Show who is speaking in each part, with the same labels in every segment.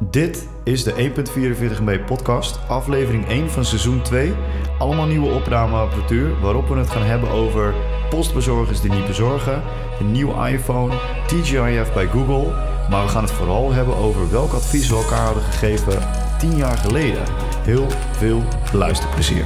Speaker 1: Dit is de 1.44 MB podcast, aflevering 1 van seizoen 2. Allemaal nieuwe opnameapparatuur waarop we het gaan hebben over postbezorgers die niet bezorgen, een nieuw iPhone, TGIF bij Google. Maar we gaan het vooral hebben over welk advies we elkaar hadden gegeven 10 jaar geleden. Heel veel luisterplezier.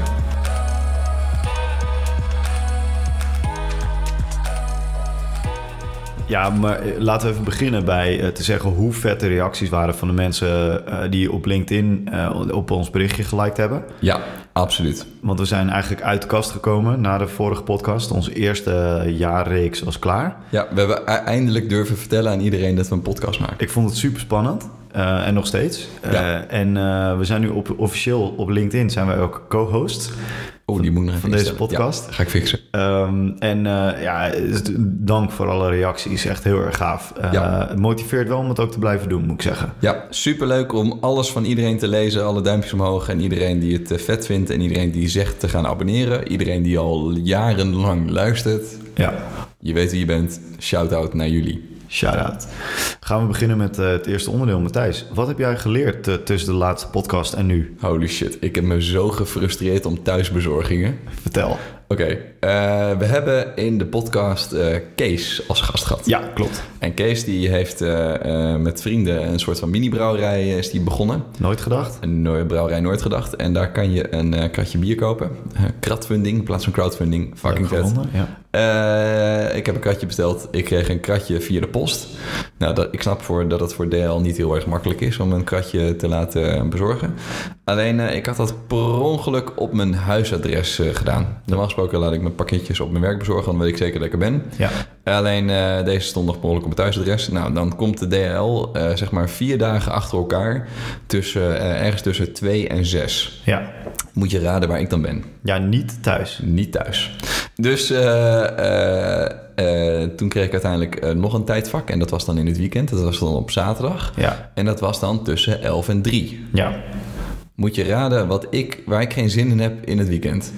Speaker 1: Ja, maar eh, laten we even beginnen bij eh, te zeggen hoe vet de reacties waren van de mensen eh, die op LinkedIn eh, op ons berichtje geliked hebben.
Speaker 2: Ja, absoluut.
Speaker 1: Want we zijn eigenlijk uit de kast gekomen na de vorige podcast. Onze eerste eh, jaarreeks was klaar.
Speaker 2: Ja, we hebben e- eindelijk durven vertellen aan iedereen dat we een podcast maken.
Speaker 1: Ik vond het super spannend. eh, en nog steeds. Eh,
Speaker 2: Ja.
Speaker 1: En eh, we zijn nu op, officieel op LinkedIn zijn wij ook co-host.
Speaker 2: Oh, die moet ik nog even
Speaker 1: van deze
Speaker 2: instellen.
Speaker 1: podcast.
Speaker 2: Ja, ga ik fixen.
Speaker 1: Ehm, en eh, ja, het- dank voor alle reacties. Echt heel erg gaaf. Eh,
Speaker 2: Ja.
Speaker 1: Het motiveert wel om het ook te blijven doen, moet ik zeggen.
Speaker 2: Ja, superleuk om alles van iedereen te lezen. Alle duimpjes omhoog. En iedereen die het eh, vet vindt. En iedereen die zegt te gaan abonneren. Iedereen die al jarenlang luistert.
Speaker 1: Ja,
Speaker 2: Je weet wie je bent. Shout-out naar jullie.
Speaker 1: shout-out. Gaan we beginnen met eh, het eerste onderdeel, Matthijs. Wat heb jij geleerd eh, tussen de laatste podcast en nu?
Speaker 2: Holy shit, ik heb me zo gefrustreerd om thuisbezorgingen.
Speaker 1: Vertel.
Speaker 2: Oké, eh, we hebben in de podcast eh, Kees als gast gehad.
Speaker 1: Ja, klopt.
Speaker 2: En Kees die heeft eh, eh, met vrienden een soort van mini-brouwerij eh, is die begonnen.
Speaker 1: Nooit gedacht?
Speaker 2: Een no- brouwerij nooit gedacht. En daar kan je een eh, kratje bier kopen. Eh, kratfunding in plaats van crowdfunding. Fucking
Speaker 1: Leuk
Speaker 2: vet.
Speaker 1: gevonden, Ja.
Speaker 2: Eh, ik heb een kratje besteld. Ik kreeg een kratje via de post. Nou, dat, ik snap voor, dat het voor DL niet heel erg makkelijk is om een kratje te laten eh, bezorgen. Alleen, eh, ik had dat per ongeluk op mijn huisadres eh, gedaan. Normaal gesproken laat ik mijn pakketjes op mijn werk bezorgen, dan weet ik zeker dat ik er ben.
Speaker 1: ja.
Speaker 2: Alleen eh, deze stond nog per ongeluk op het thuisadres. Nou, dan komt de DHL eh, zeg maar vier dagen achter elkaar tussen, eh, ergens tussen twee en zes.
Speaker 1: Ja.
Speaker 2: Moet je raden waar ik dan ben.
Speaker 1: ja, niet thuis.
Speaker 2: Niet thuis. Dus eh, eh, eh, toen kreeg ik uiteindelijk eh, nog een tijdvak. En dat was dan in het weekend. Dat was dan op zaterdag.
Speaker 1: Ja.
Speaker 2: En dat was dan tussen 11 en 3.
Speaker 1: Ja.
Speaker 2: Moet je raden wat ik, waar ik geen zin in heb in het weekend.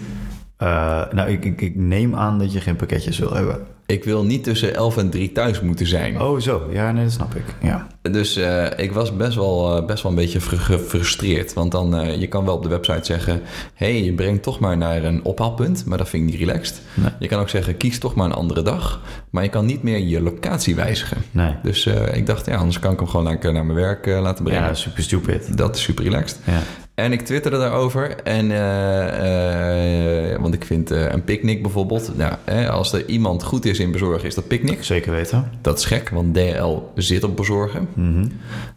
Speaker 1: Eh, nou, ik, ik, ik neem aan dat je geen pakketjes wil hebben.
Speaker 2: Ik wil niet tussen 11 en 3 thuis moeten zijn.
Speaker 1: Oh, zo. Ja, nee, dat snap ik. Ja.
Speaker 2: Dus eh, ik was best wel, eh, best wel een beetje fr- gefrustreerd. Want dan, eh, je kan wel op de website zeggen... hé, hey, je brengt toch maar naar een ophaalpunt. Maar dat vind ik niet relaxed.
Speaker 1: Nee.
Speaker 2: Je kan ook zeggen, kies toch maar een andere dag. Maar je kan niet meer je locatie wijzigen.
Speaker 1: Nee.
Speaker 2: Dus eh, ik dacht, ja, anders kan ik hem gewoon lekker naar mijn werk eh, laten brengen.
Speaker 1: Ja, super stupid.
Speaker 2: Dat is super relaxed.
Speaker 1: Ja.
Speaker 2: En ik twitterde daarover. En, eh, eh, want ik vind eh, een picknick bijvoorbeeld... Nou, eh, als er iemand goed is in bezorgen, is dat picknick.
Speaker 1: Zeker weten.
Speaker 2: Dat is gek, want DL zit op bezorgen.
Speaker 1: Mhm.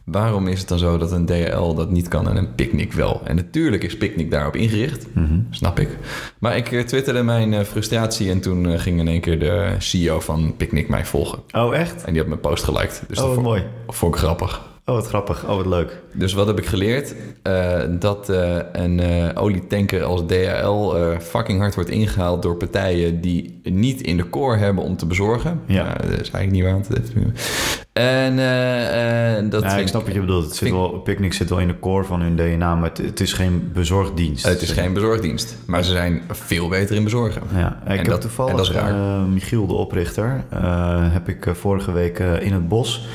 Speaker 2: Waarom is het dan zo dat een DHL dat niet kan en een picknick wel? En natuurlijk is picknick daarop ingericht.
Speaker 1: Mhm.
Speaker 2: Snap ik. Maar ik eh, twitterde mijn eh, frustratie en toen eh, ging in één keer de CEO van Picnic mij volgen.
Speaker 1: Oh, echt?
Speaker 2: En die had mijn post geliked. Dus
Speaker 1: Oh,
Speaker 2: dat
Speaker 1: wat
Speaker 2: vond,
Speaker 1: mooi.
Speaker 2: vond ik grappig.
Speaker 1: Oh, wat grappig. Oh, wat leuk.
Speaker 2: Dus wat heb ik geleerd? Eh, dat eh, een eh, olietanker als DHL eh, fucking hard wordt ingehaald door partijen die niet in de core hebben om te bezorgen.
Speaker 1: Ja.
Speaker 2: Nou, dat is eigenlijk niet waar. want het heeft- En eh, eh, dat
Speaker 1: Ja,
Speaker 2: vind
Speaker 1: ik snap wat je bedoelt. Het zit
Speaker 2: vind
Speaker 1: wel, Picnic zit wel in de core van hun DNA, maar het, het is geen bezorgdienst.
Speaker 2: Het is geen bezorgdienst, maar ze zijn veel beter in bezorgen.
Speaker 1: Ja, ik
Speaker 2: En
Speaker 1: heb
Speaker 2: dat-
Speaker 1: toevallig
Speaker 2: en dat is raar.
Speaker 1: eh, Michiel, de oprichter, eh, heb ik eh, vorige week eh, in het bos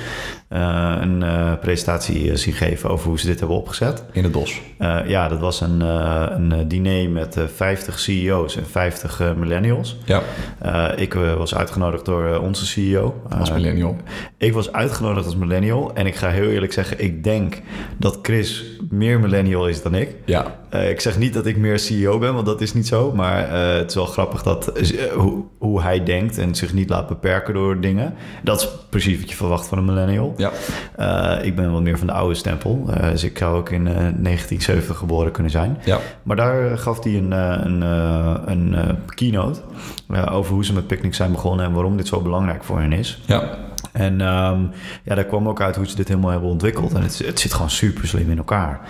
Speaker 1: eh, een eh, presentatie eh, zien geven over hoe ze dit hebben opgezet.
Speaker 2: In het bos.
Speaker 1: Eh, ja, dat was een, eh, een eh, diner met eh, 50 CEO's en 50 eh, millennials.
Speaker 2: Ja,
Speaker 1: Eh, ik eh, was uitgenodigd door eh, onze CEO.
Speaker 2: als
Speaker 1: Eh,
Speaker 2: millennial.
Speaker 1: Ik was uitgenodigd als millennial. En ik ga heel eerlijk zeggen, ik denk dat Chris meer millennial is dan ik.
Speaker 2: Ja,
Speaker 1: Eh, ik zeg niet dat ik meer CEO ben, want dat is niet zo. Maar eh, het is wel grappig dat, eh, hoe, hoe hij denkt en zich niet laat beperken door dingen. Dat is precies wat je verwacht van een millennial.
Speaker 2: ja.
Speaker 1: Eh, ik ben wat meer van de oude stempel. Eh, dus ik zou ook in eh, 1970 geboren kunnen zijn.
Speaker 2: ja.
Speaker 1: Maar daar gaf hij een, eh, een, eh, een eh, keynote eh, over hoe ze met Picnic zijn begonnen en waarom dit zo belangrijk voor hen is.
Speaker 2: ja.
Speaker 1: En ehm, ja, daar kwam ook uit hoe ze dit helemaal hebben ontwikkeld. En het, het zit gewoon super slim in elkaar.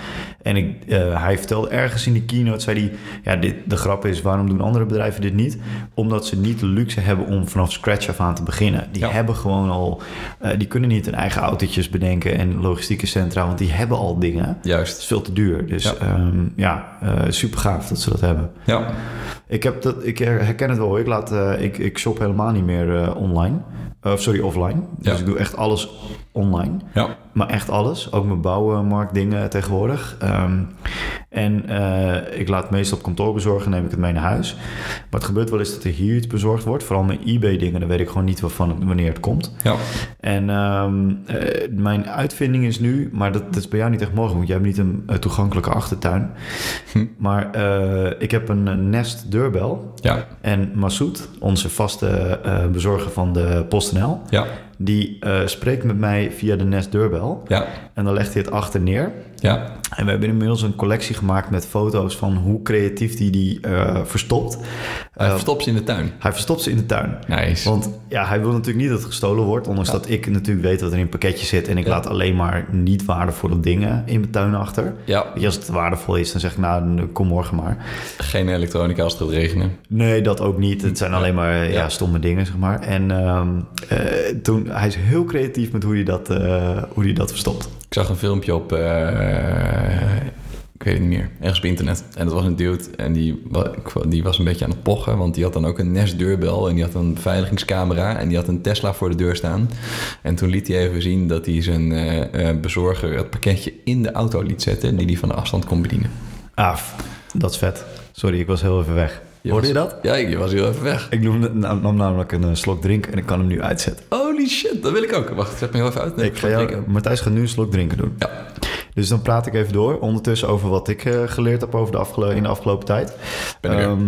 Speaker 1: En ik, eh, hij vertelde ergens in die keynote, zei hij... Ja, dit, de grap is, waarom doen andere bedrijven dit niet? Omdat ze niet de luxe hebben om vanaf scratch af aan te beginnen. Die
Speaker 2: Ja.
Speaker 1: hebben gewoon al... eh, die kunnen niet hun eigen autootjes bedenken en logistieke centra... want die hebben al dingen. Het
Speaker 2: Juist.
Speaker 1: is veel te duur. Dus
Speaker 2: Ja.
Speaker 1: ja, ja eh, super gaaf dat ze dat hebben.
Speaker 2: Ja,
Speaker 1: Ik, heb dat, ik herken het wel. Ik, laat, eh, ik, ik shop helemaal niet meer eh, online. Of sorry, Eh, offline. Dus
Speaker 2: Ja.
Speaker 1: ik doe echt alles online.
Speaker 2: ja.
Speaker 1: Maar echt alles. Ook mijn bouwmarktdingen tegenwoordig. Ehm, en eh, ik laat het meestal op kantoor bezorgen. Neem ik het mee naar huis. Maar het gebeurt wel eens dat er hier iets bezorgd wordt. Vooral mijn eBay-dingen. Dan weet ik gewoon niet waarvan het- wanneer het komt.
Speaker 2: Ja.
Speaker 1: En ehm, eh, mijn uitvinding is nu, maar dat, dat is bij jou niet echt mogelijk, want jij hebt niet een eh, toegankelijke achtertuin.
Speaker 2: Hm.
Speaker 1: Maar eh, ik heb een eh, Nest deurbel.
Speaker 2: Ja.
Speaker 1: En Massoud, onze vaste eh, bezorger van de PostNL,
Speaker 2: Ja.
Speaker 1: die eh, spreekt met mij via de Nest deurbel.
Speaker 2: Ja.
Speaker 1: En dan legt hij het achter neer.
Speaker 2: Ja.
Speaker 1: En we hebben inmiddels een collectie gemaakt met foto's van hoe creatief hij die eh, verstopt.
Speaker 2: Hij
Speaker 1: Eh,
Speaker 2: verstopt ze in de tuin.
Speaker 1: hij verstopt ze in de tuin.
Speaker 2: Nice.
Speaker 1: Want ja, hij wil natuurlijk niet dat het gestolen wordt. Ondanks dat ik natuurlijk weet wat er in een pakketje zit. En ik
Speaker 2: Ja.
Speaker 1: laat alleen maar niet waardevolle dingen in mijn tuin achter.
Speaker 2: Ja.
Speaker 1: Weet je, als het waardevol is, dan zeg ik nou, dan kom morgen maar.
Speaker 2: Geen elektronica als het gaat regenen.
Speaker 1: Nee, dat ook niet. Het zijn alleen maar eh, ja,
Speaker 2: Ja.
Speaker 1: stomme dingen, zeg maar. En ehm, eh, toen, hij is heel creatief met hoe hij dat, eh, hoe hij dat verstopt.
Speaker 2: Ik zag een filmpje op, eh, ik weet het niet meer, ergens op internet. En dat was een dude en die, wa- ik- die was een beetje aan het pochen, want die had dan ook een Nest deurbel en die had een beveiligingscamera en die had een Tesla voor de deur staan. En toen liet hij even zien dat hij zijn eh, eh, bezorger het pakketje in de auto liet zetten, die hij van de afstand kon bedienen.
Speaker 1: Af, Ah, dat is vet. Sorry, ik was heel even weg. Hoorde je
Speaker 2: was-
Speaker 1: dat?
Speaker 2: Ja, je was heel even weg.
Speaker 1: Ik noemde, nam, nam namelijk een eh, slok drink en ik kan hem nu uitzetten.
Speaker 2: Holy shit, dat wil ik ook. Wacht, zet me heel even uit. Nee,
Speaker 1: Ik ga jou,
Speaker 2: drinken.
Speaker 1: Matthijs gaat nu een slok drinken doen.
Speaker 2: Ja,
Speaker 1: Dus dan praat ik even door ondertussen over wat ik eh, geleerd heb over de afgelo- in de afgelopen tijd.
Speaker 2: Ben ik er.
Speaker 1: Ehm,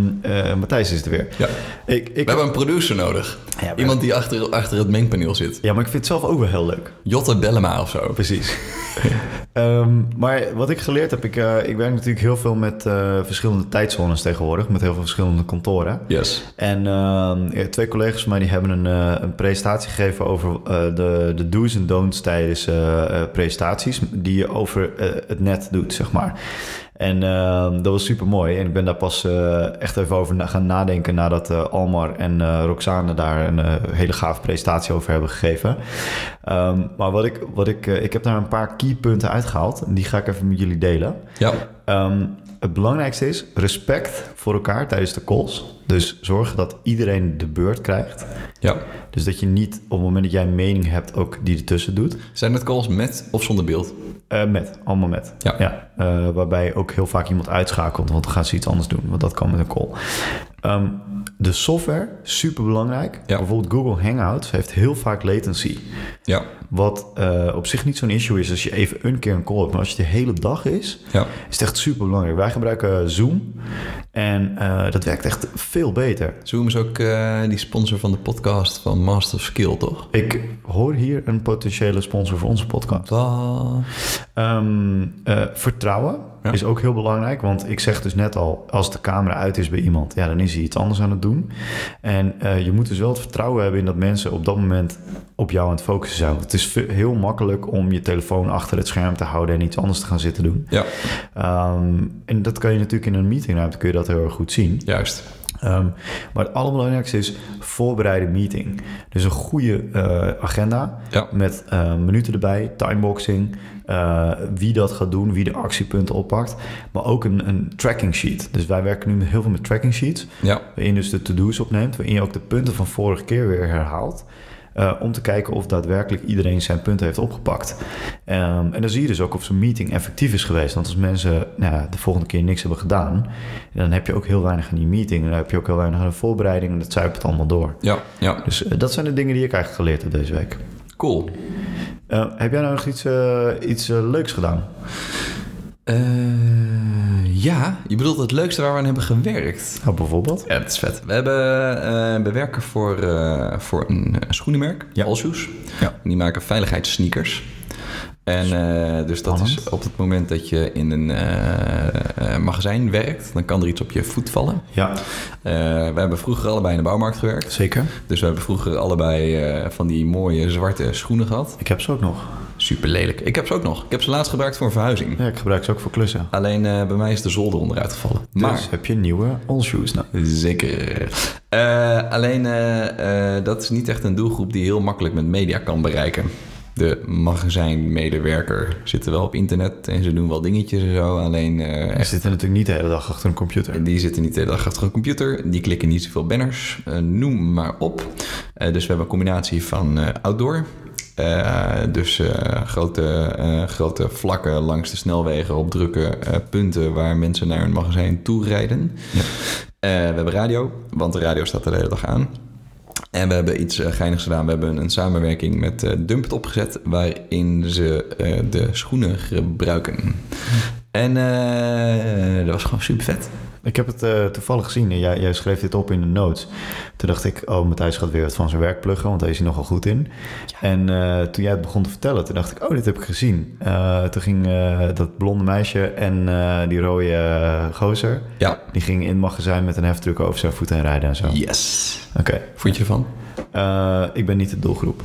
Speaker 1: eh, Matthijs is er weer.
Speaker 2: ja.
Speaker 1: Ik, ik,
Speaker 2: We hebben een producer nodig.
Speaker 1: Ja, we-
Speaker 2: Iemand die achter, achter het mengpaneel zit.
Speaker 1: ja, maar ik vind het zelf ook wel heel leuk.
Speaker 2: Jotte Bellema of zo.
Speaker 1: Precies. Ehm, maar wat ik geleerd heb, ik, eh, ik werk natuurlijk heel veel met eh, verschillende tijdzones tegenwoordig, met heel veel verschillende kantoren.
Speaker 2: Yes.
Speaker 1: En ehm, ja, twee collega's van mij die hebben een, eh, een presentatie gegeven over eh, de, de do's en don'ts tijdens eh, eh, presentaties die je over eh, het net doet, zeg maar. En ehm, dat was super mooi. En ik ben daar pas eh, echt even over na- gaan nadenken nadat eh, Almar en eh, Roxane daar een eh, hele gave presentatie over hebben gegeven. Ehm, maar wat ik, wat ik, eh, ik heb daar een paar keypunten uitgehaald. En die ga ik even met jullie delen.
Speaker 2: Ja.
Speaker 1: Ehm, het belangrijkste is respect voor elkaar tijdens de calls. Dus zorg dat iedereen de beurt krijgt.
Speaker 2: Ja.
Speaker 1: Dus dat je niet op het moment dat jij een mening hebt ook die ertussen doet.
Speaker 2: Zijn het calls met of zonder beeld?
Speaker 1: Eh, met, allemaal met.
Speaker 2: Ja.
Speaker 1: Eh, waarbij je ook heel vaak iemand uitschakelt, want dan gaan ze iets anders doen. Want dat kan met een call. Ehm, de software, super belangrijk.
Speaker 2: Ja.
Speaker 1: Bijvoorbeeld Google Hangouts heeft heel vaak latency.
Speaker 2: Ja.
Speaker 1: Wat eh, op zich niet zo'n issue is als je even een keer een call hebt. Maar als je de hele dag is,
Speaker 2: Ja.
Speaker 1: is het echt super belangrijk. Wij gebruiken Zoom en eh, dat werkt echt veel beter.
Speaker 2: Zoom is ook eh, die sponsor van de podcast van Master of Skill, toch?
Speaker 1: Ik hoor hier een potentiële sponsor voor onze podcast.
Speaker 2: Wat?
Speaker 1: Ehm, eh, vertrouwen
Speaker 2: Ja.
Speaker 1: is ook heel belangrijk, want ik zeg dus net al, als de camera uit is bij iemand, ja, dan is hij iets anders aan het doen. En eh, je moet dus wel het vertrouwen hebben in dat mensen op dat moment op jou aan het focussen zijn. Want het is ve- heel makkelijk om je telefoon achter het scherm te houden en iets anders te gaan zitten doen.
Speaker 2: Ja,
Speaker 1: Ehm, en dat kan je natuurlijk in een meetingruimte kun je dat heel erg goed zien.
Speaker 2: juist.
Speaker 1: Ehm, maar het allerbelangrijkste is voorbereide meeting. Dus een goede eh, agenda
Speaker 2: Ja.
Speaker 1: met eh, minuten erbij, timeboxing, eh, wie dat gaat doen, wie de actiepunten oppakt. Maar ook een, een tracking sheet. Dus wij werken nu heel veel met tracking sheets,
Speaker 2: Ja.
Speaker 1: waarin je dus de to-do's opneemt, waarin je ook de punten van vorige keer weer herhaalt. eh, om te kijken of daadwerkelijk iedereen zijn punten heeft opgepakt. Ehm, en dan zie je dus ook of zo'n meeting effectief is geweest. Want als mensen nou, ja, de volgende keer niks hebben gedaan, dan heb je ook heel weinig aan die meeting. En dan heb je ook heel weinig aan de voorbereiding. En dat zuipt het allemaal door.
Speaker 2: Ja. Ja.
Speaker 1: Dus eh, dat zijn de dingen die ik eigenlijk geleerd heb deze week.
Speaker 2: Cool.
Speaker 1: Eh, heb jij nou nog iets, eh, iets eh, leuks gedaan?
Speaker 2: Eh, ja, je bedoelt het leukste waar we aan hebben gewerkt.
Speaker 1: Nou, bijvoorbeeld?
Speaker 2: Ja, dat is vet. We hebben eh, we werken voor, eh, voor een eh, schoenenmerk,
Speaker 1: Ja.
Speaker 2: Allshoes.
Speaker 1: Ja.
Speaker 2: Die maken veiligheidssneakers. En eh, dus dat
Speaker 1: Spannend.
Speaker 2: is op het moment dat je in een eh, eh, magazijn werkt, dan kan er iets op je voet vallen.
Speaker 1: Ja,
Speaker 2: Eh, we hebben vroeger allebei in de bouwmarkt gewerkt.
Speaker 1: zeker.
Speaker 2: Dus we hebben vroeger allebei eh, van die mooie zwarte schoenen gehad.
Speaker 1: Ik heb ze ook nog.
Speaker 2: Super lelijk. Ik heb ze ook nog. Ik heb ze laatst gebruikt voor een verhuizing.
Speaker 1: Ja, ik gebruik ze ook voor klussen.
Speaker 2: Alleen eh, bij mij is de zolder onderuit gevallen. Maar
Speaker 1: Dus heb je nieuwe allshoes nou?
Speaker 2: Zeker. Eh, alleen eh, eh, dat is niet echt een doelgroep die heel makkelijk met media kan bereiken. De magazijnmedewerker zitten wel op internet en ze doen wel dingetjes en zo. Alleen eh,
Speaker 1: Ze zitten natuurlijk niet de hele dag achter een computer.
Speaker 2: die zitten niet de hele dag achter een computer. Die klikken niet zoveel banners. Eh, noem maar op. Eh, dus we hebben een combinatie van eh, outdoor, Eh, dus eh, grote, eh, grote vlakken langs de snelwegen op drukke eh, punten waar mensen naar hun magazijn toe rijden. Eh, we hebben radio, want de radio staat de hele dag aan. En we hebben iets eh, geinigs gedaan. We hebben een samenwerking met eh Dumpet opgezet, waarin ze eh, de schoenen gebruiken. En eh, dat was gewoon super vet.
Speaker 1: Ik heb het eh, toevallig gezien. en Jij, jij schreef dit op in de notes. Toen dacht ik, oh, Matthijs gaat weer wat van zijn werk pluggen, want daar is hij nogal goed in. En eh, toen jij het begon te vertellen, toen dacht ik, oh, dit heb ik gezien. Eh, toen ging eh, dat blonde meisje en eh, die rode eh, gozer,
Speaker 2: Ja.
Speaker 1: die ging in het magazijn met een heftruck over zijn voeten en rijden en zo.
Speaker 2: Yes.
Speaker 1: Oké,
Speaker 2: Vond je ervan?
Speaker 1: Eh, ik ben niet de doelgroep.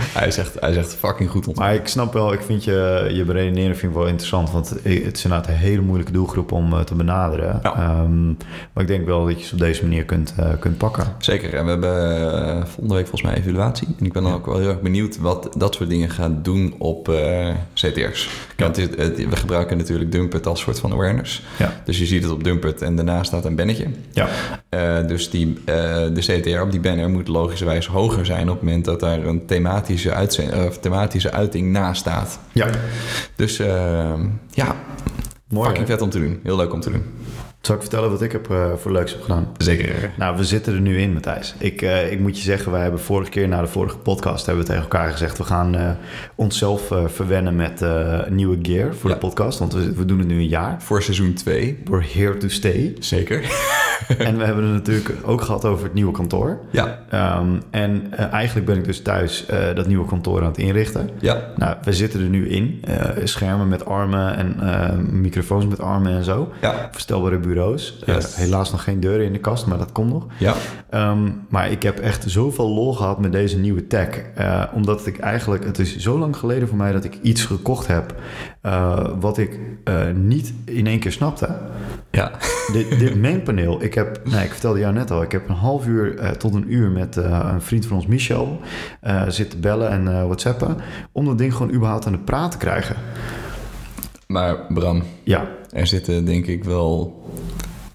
Speaker 2: hij, is echt, hij is echt fucking goed ontwikkeld.
Speaker 1: Maar ik snap wel, ik vind je, je beredenering vind ik wel interessant. Want het is inderdaad een hele moeilijke doelgroep om eh, te benaderen.
Speaker 2: Ja.
Speaker 1: Ehm, maar ik denk wel dat je ze op deze manier kunt, eh, kunt pakken.
Speaker 2: Zeker, en we hebben eh, volgende week volgens mij evaluatie. En ik ben dan ook wel heel erg benieuwd wat dat soort dingen gaat doen op eh, CTR's. Want het, is- het- we gebruiken natuurlijk Dumpet als soort van awareness.
Speaker 1: Ja.
Speaker 2: Dus je ziet het op Dumpet en daarna staat een bannetje.
Speaker 1: Ja.
Speaker 2: Eh, dus die, eh, de CTR op die banner moet logischerwijs hoger zijn op het moment dat daar een thematische, uitzend, of thematische uiting naast staat.
Speaker 1: Ja.
Speaker 2: Dus eh, ja,
Speaker 1: Mooi.
Speaker 2: fucking
Speaker 1: hè?
Speaker 2: vet om te doen. Heel leuk om te doen.
Speaker 1: Zal ik vertellen wat ik heb, eh, voor leuks heb gedaan?
Speaker 2: Zeker.
Speaker 1: Nou, we zitten er nu in, Matthijs. Ik, eh, ik moet je zeggen, wij hebben vorige keer na de vorige podcast hebben we tegen elkaar gezegd... we gaan eh, onszelf eh, verwennen met eh, nieuwe gear voor
Speaker 2: Ja.
Speaker 1: de podcast. Want we, we doen het nu een jaar.
Speaker 2: Voor seizoen 2.
Speaker 1: We're here to stay.
Speaker 2: Zeker.
Speaker 1: en we hebben het natuurlijk ook gehad over het nieuwe kantoor.
Speaker 2: Ja,
Speaker 1: Ehm, en eh, eigenlijk ben ik dus thuis eh, dat nieuwe kantoor aan het inrichten.
Speaker 2: ja.
Speaker 1: Nou, we zitten er nu in. Eh, schermen met armen en eh, microfoons met armen en zo.
Speaker 2: Ja,
Speaker 1: Verstelbare bureaus. Eh,
Speaker 2: Yes.
Speaker 1: helaas nog geen deuren in de kast, maar dat komt nog.
Speaker 2: ja.
Speaker 1: Ehm, maar ik heb echt zoveel lol gehad met deze nieuwe tech. Eh, omdat ik eigenlijk, het is zo lang geleden voor mij dat ik iets gekocht heb. eh, wat ik eh, niet in één keer snapte.
Speaker 2: Ja,
Speaker 1: Dit, dit mengpaneel, ik heb, nou, ik vertelde jou net al, ik heb een half uur eh, tot een uur met eh, een vriend van ons, Michel, eh, zitten bellen en eh, whatsappen. Om dat ding gewoon überhaupt aan de praat te krijgen.
Speaker 2: maar Bram,
Speaker 1: Ja,
Speaker 2: er zitten denk ik wel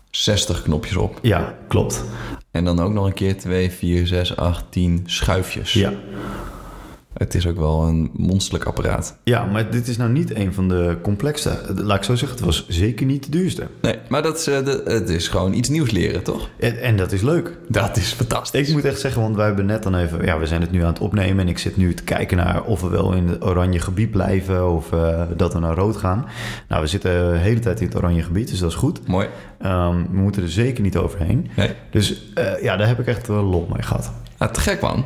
Speaker 2: 60 knopjes op.
Speaker 1: ja, klopt.
Speaker 2: En dan ook nog een keer 2, 4, 6, 8, 10 schuifjes.
Speaker 1: Ja.
Speaker 2: Het is ook wel een monsterlijk apparaat.
Speaker 1: ja, maar dit is nou niet een van de complexste. Laat ik zo zeggen, het was zeker niet de duurste.
Speaker 2: Nee, maar dat is, eh, de- het is gewoon iets nieuws leren, toch?
Speaker 1: En, en dat is leuk.
Speaker 2: Dat is fantastisch.
Speaker 1: Ik moet echt zeggen, want wij hebben net dan even... Ja, we zijn het nu aan het opnemen en ik zit nu te kijken naar... of we wel in het oranje gebied blijven of eh, dat we naar rood gaan. Nou, we zitten de hele tijd in het oranje gebied, dus dat is goed.
Speaker 2: Mooi.
Speaker 1: Ehm, we moeten er zeker niet overheen.
Speaker 2: Nee.
Speaker 1: Dus eh, ja, daar heb ik echt wel lol mee gehad.
Speaker 2: Ah, te gek, man.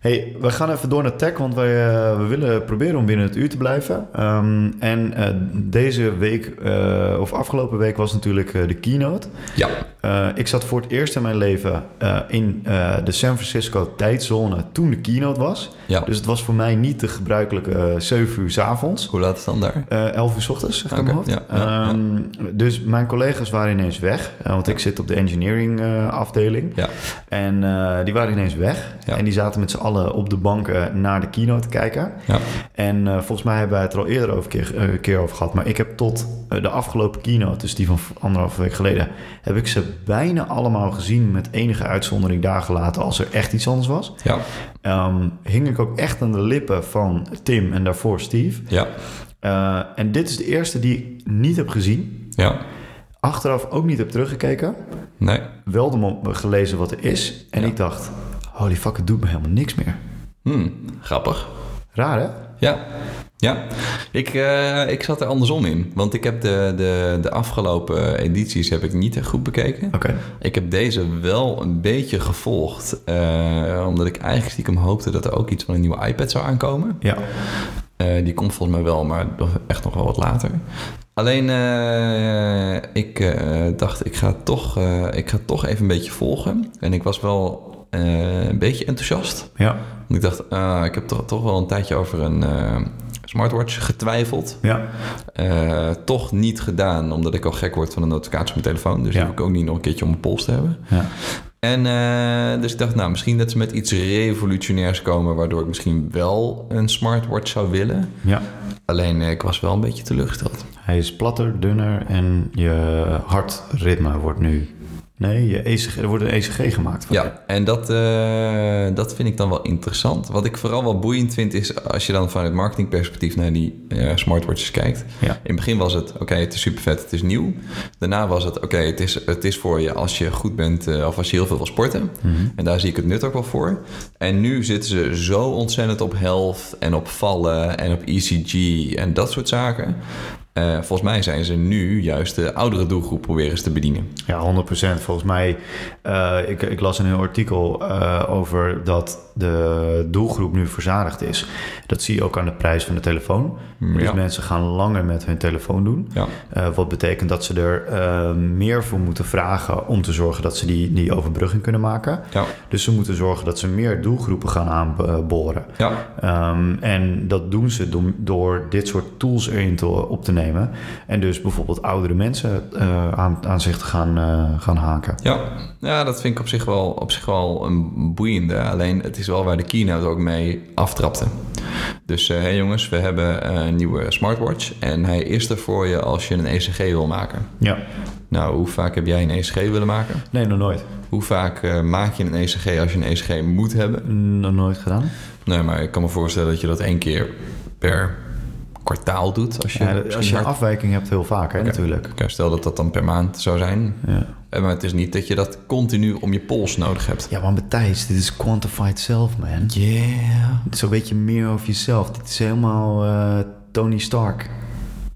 Speaker 1: hey, we gaan even door naar tech, want wij, eh, we willen proberen om binnen het uur te blijven. Ehm, en eh, deze week, eh, of afgelopen week, was natuurlijk eh, de keynote.
Speaker 2: Ja.
Speaker 1: Eh, ik zat voor het eerst in mijn leven eh, in eh, de San Francisco tijdzone toen de keynote was.
Speaker 2: ja.
Speaker 1: Dus het was voor mij niet de gebruikelijke eh, 7 uur 's avonds.
Speaker 2: Hoe laat is het dan daar?
Speaker 1: Eh 11 uur 's ochtends, zeg ik
Speaker 2: Oké,
Speaker 1: uit mijn
Speaker 2: ja,
Speaker 1: hoofd.
Speaker 2: ja, ja.
Speaker 1: Ehm, Dus mijn collega's waren ineens weg. eh, want ik zit op de engineering eh, afdeling.
Speaker 2: Ja.
Speaker 1: En eh, die waren ineens weg.
Speaker 2: Ja.
Speaker 1: En die zaten met z'n allen op de banken naar de keynote te kijken.
Speaker 2: Ja.
Speaker 1: En eh, volgens mij hebben wij het er al eerder over keer, eh, keer over gehad. Maar ik heb tot eh, de afgelopen keynote, dus die van v- anderhalve week geleden... heb ik ze bijna allemaal gezien met enige uitzondering daar gelaten... als er echt iets anders was.
Speaker 2: Ja.
Speaker 1: Ehm, hing ik ook echt aan de lippen van Tim en daarvoor Steve...
Speaker 2: Ja.
Speaker 1: Eh, en dit is de eerste die ik niet heb gezien.
Speaker 2: Ja.
Speaker 1: Achteraf ook niet heb teruggekeken.
Speaker 2: Nee.
Speaker 1: Wel de mom- gelezen wat er is. En
Speaker 2: Ja.
Speaker 1: ik dacht, holy fuck, het doet me helemaal niks meer.
Speaker 2: Hm, grappig.
Speaker 1: Raar hè?
Speaker 2: Ja, ja. Ik, eh, ik zat er andersom in. Want ik heb de, de, de afgelopen edities heb ik niet echt goed bekeken.
Speaker 1: Oké.
Speaker 2: Ik heb deze wel een beetje gevolgd. eh, omdat ik eigenlijk stiekem hoopte dat er ook iets van een nieuwe iPad zou aankomen.
Speaker 1: Ja.
Speaker 2: Eh, die komt volgens mij wel, maar nog- echt nog wel wat later. Alleen eh, ik eh, dacht, ik ga, toch, eh, ik ga toch even een beetje volgen. En ik was wel eh, een beetje enthousiast.
Speaker 1: Ja.
Speaker 2: Want ik dacht, ah, ik heb toch, toch wel een tijdje over een eh, smartwatch getwijfeld.
Speaker 1: Ja.
Speaker 2: Eh, toch niet gedaan, omdat ik al gek word van de notificatie op mijn telefoon. Dus
Speaker 1: Ja.
Speaker 2: die hoef ik ook niet nog een keertje om mijn pols te hebben.
Speaker 1: Ja.
Speaker 2: En eh, dus ik dacht, nou, misschien dat ze met iets revolutionairs komen... waardoor ik misschien wel een smartwatch zou willen.
Speaker 1: ja.
Speaker 2: Alleen eh, ik was wel een beetje teleurgesteld.
Speaker 1: Hij is platter, dunner en je hartritme wordt nu Nee, je ECG, er wordt een ECG gemaakt van je.
Speaker 2: Ja, en dat, eh, dat vind ik dan wel interessant. Wat ik vooral wel boeiend vind is als je dan vanuit marketingperspectief naar die eh, smartwatches kijkt.
Speaker 1: Ja.
Speaker 2: In het begin was het, oké, het is super vet, het is nieuw. Daarna was het, oké, het, is, het is voor je als je goed bent eh, of als je heel veel wil sporten. En daar zie ik het nut ook wel voor. En nu zitten ze zo ontzettend op health en op vallen en op ECG en dat soort zaken. Eh, volgens mij zijn ze nu juist de oudere doelgroep proberen ze te bedienen.
Speaker 1: Ja, 100%. Volgens mij, eh, ik, ik las een heel artikel eh, over dat de doelgroep nu verzadigd is. Dat zie je ook aan de prijs van de telefoon.
Speaker 2: Mm,
Speaker 1: Dus
Speaker 2: ja.
Speaker 1: mensen gaan langer met hun telefoon doen.
Speaker 2: Ja.
Speaker 1: Eh, wat betekent dat ze er eh, meer voor moeten vragen om te zorgen dat ze die, die overbrugging kunnen maken.
Speaker 2: Ja.
Speaker 1: Dus ze moeten zorgen dat ze meer doelgroepen gaan aanboren.
Speaker 2: Ja.
Speaker 1: Ehm, en dat doen ze door, door dit soort tools erin te, op te nemen. En dus bijvoorbeeld oudere mensen eh, aan, aan zich te gaan, eh, gaan haken.
Speaker 2: Ja, ja dat vind ik op zich, wel, op zich wel een boeiende. Alleen het is wel waar de keynote ook mee aftrapte. Dus hé hey jongens, we hebben eh, een nieuwe smartwatch. En hij is er voor je als je een ECG wil maken.
Speaker 1: Ja,
Speaker 2: Nou, hoe vaak heb jij een ECG willen maken?
Speaker 1: nee, nog nooit.
Speaker 2: Hoe vaak eh, maak je een ECG als je een ECG moet hebben?
Speaker 1: Nog nooit gedaan.
Speaker 2: Nee, maar ik kan me voorstellen dat je dat één keer per kwartaal doet. Als je,
Speaker 1: Ja,
Speaker 2: misschien
Speaker 1: als je een
Speaker 2: hard-
Speaker 1: afwijking hebt, heel vaak, hè, natuurlijk.
Speaker 2: Oké, stel dat dat dan per maand zou zijn.
Speaker 1: Ja.
Speaker 2: Eh, Maar het is niet dat je dat continu om je pols nodig hebt.
Speaker 1: ja, maar Matthijs, dit is quantified self, man.
Speaker 2: Yeah.
Speaker 1: Het is een beetje meer over jezelf. Dit is helemaal eh, Tony Stark.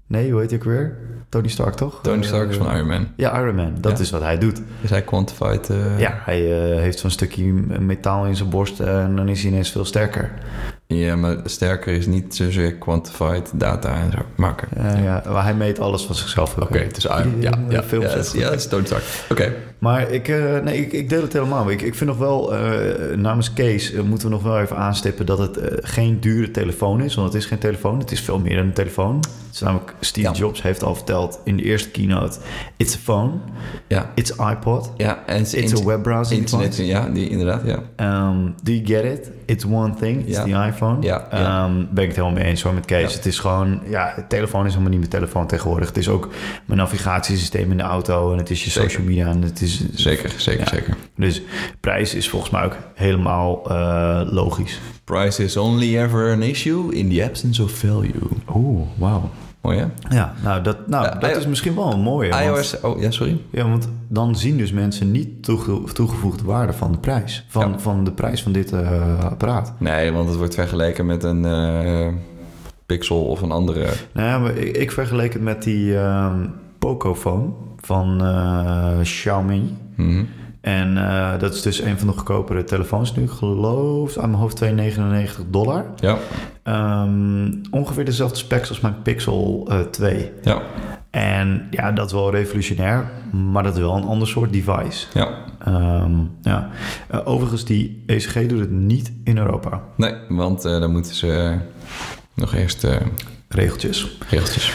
Speaker 1: Nee, hoe heet hij ook weer? Tony Stark, toch?
Speaker 2: Tony Stark is
Speaker 1: Eh,
Speaker 2: van Iron Man.
Speaker 1: Ja, Iron Man. Dat
Speaker 2: Ja.
Speaker 1: is wat hij doet.
Speaker 2: Is hij quantified? eh,
Speaker 1: Ja, hij eh, heeft zo'n stukje metaal in zijn borst en dan is hij ineens veel sterker.
Speaker 2: Ja, maar sterker is niet zozeer quantified data en zo. Maar oké.
Speaker 1: Eh, ja. maar hij meet alles van zichzelf. ook.
Speaker 2: Oké, het is Iron Ja, ja,
Speaker 1: Films
Speaker 2: ja,
Speaker 1: is
Speaker 2: het is-
Speaker 1: goed.
Speaker 2: ja, het is Tony Stark. Oké.
Speaker 1: Maar ik, eh, nee, ik, ik deel het helemaal. Ik, ik vind nog wel, eh, namens Kees eh, moeten we nog wel even aanstippen dat het eh, geen dure telefoon is. Want het is geen telefoon, het is veel meer dan een telefoon. Het is namelijk, Steve
Speaker 2: Ja.
Speaker 1: Jobs heeft al verteld in de eerste keynote, it's a phone,
Speaker 2: Ja.
Speaker 1: it's iPod,
Speaker 2: Ja, en het is
Speaker 1: it's a
Speaker 2: int-
Speaker 1: web browsing
Speaker 2: internet.
Speaker 1: device.
Speaker 2: Ja, die, inderdaad, ja.
Speaker 1: Ehm, do you get it? It's one thing. It's
Speaker 2: Ja.
Speaker 1: the iPhone.
Speaker 2: Ja, ja.
Speaker 1: Ehm, ben ik het helemaal mee eens hoor met Kees.
Speaker 2: Ja.
Speaker 1: Het is gewoon... Ja, het telefoon is helemaal niet mijn telefoon tegenwoordig. Het is ook mijn navigatiesysteem in de auto. En het is je
Speaker 2: Zeker.
Speaker 1: social media. En het is...
Speaker 2: Zeker, zeker, zeker.
Speaker 1: Dus prijs is volgens mij ook helemaal eh, logisch.
Speaker 2: Price is only ever an issue in the absence of value.
Speaker 1: Oeh, wauw.
Speaker 2: Mooi, hè?
Speaker 1: Ja, nou dat, nou,
Speaker 2: Ja,
Speaker 1: dat
Speaker 2: I-
Speaker 1: is misschien wel een mooie. want-
Speaker 2: iOS... Oh, ja, sorry.
Speaker 1: ja, want dan zien dus mensen niet toege- toegevoegde waarde van de prijs. Van,
Speaker 2: Ja.
Speaker 1: van de prijs van dit eh, apparaat.
Speaker 2: Nee, want het wordt vergeleken met een eh, Pixel of een andere...
Speaker 1: Nou ja, maar ik, ik vergeleek het met die ehm, Pocophone van eh, Xiaomi.
Speaker 2: Mhm.
Speaker 1: En eh, dat is dus een van de goedkopere telefoons nu. Geloof aan mijn hoofd 2,99 dollar.
Speaker 2: Ja,
Speaker 1: Ehm, ongeveer dezelfde specs als mijn Pixel eh, 2.
Speaker 2: ja,
Speaker 1: En ja, dat is wel revolutionair, maar dat is wel een ander soort device.
Speaker 2: ja.
Speaker 1: Ehm, ja. Eh, overigens, die ECG doet het niet in Europa.
Speaker 2: Nee, want eh, dan moeten ze eh, nog eerst eh,
Speaker 1: Regeltjes.
Speaker 2: regeltjes.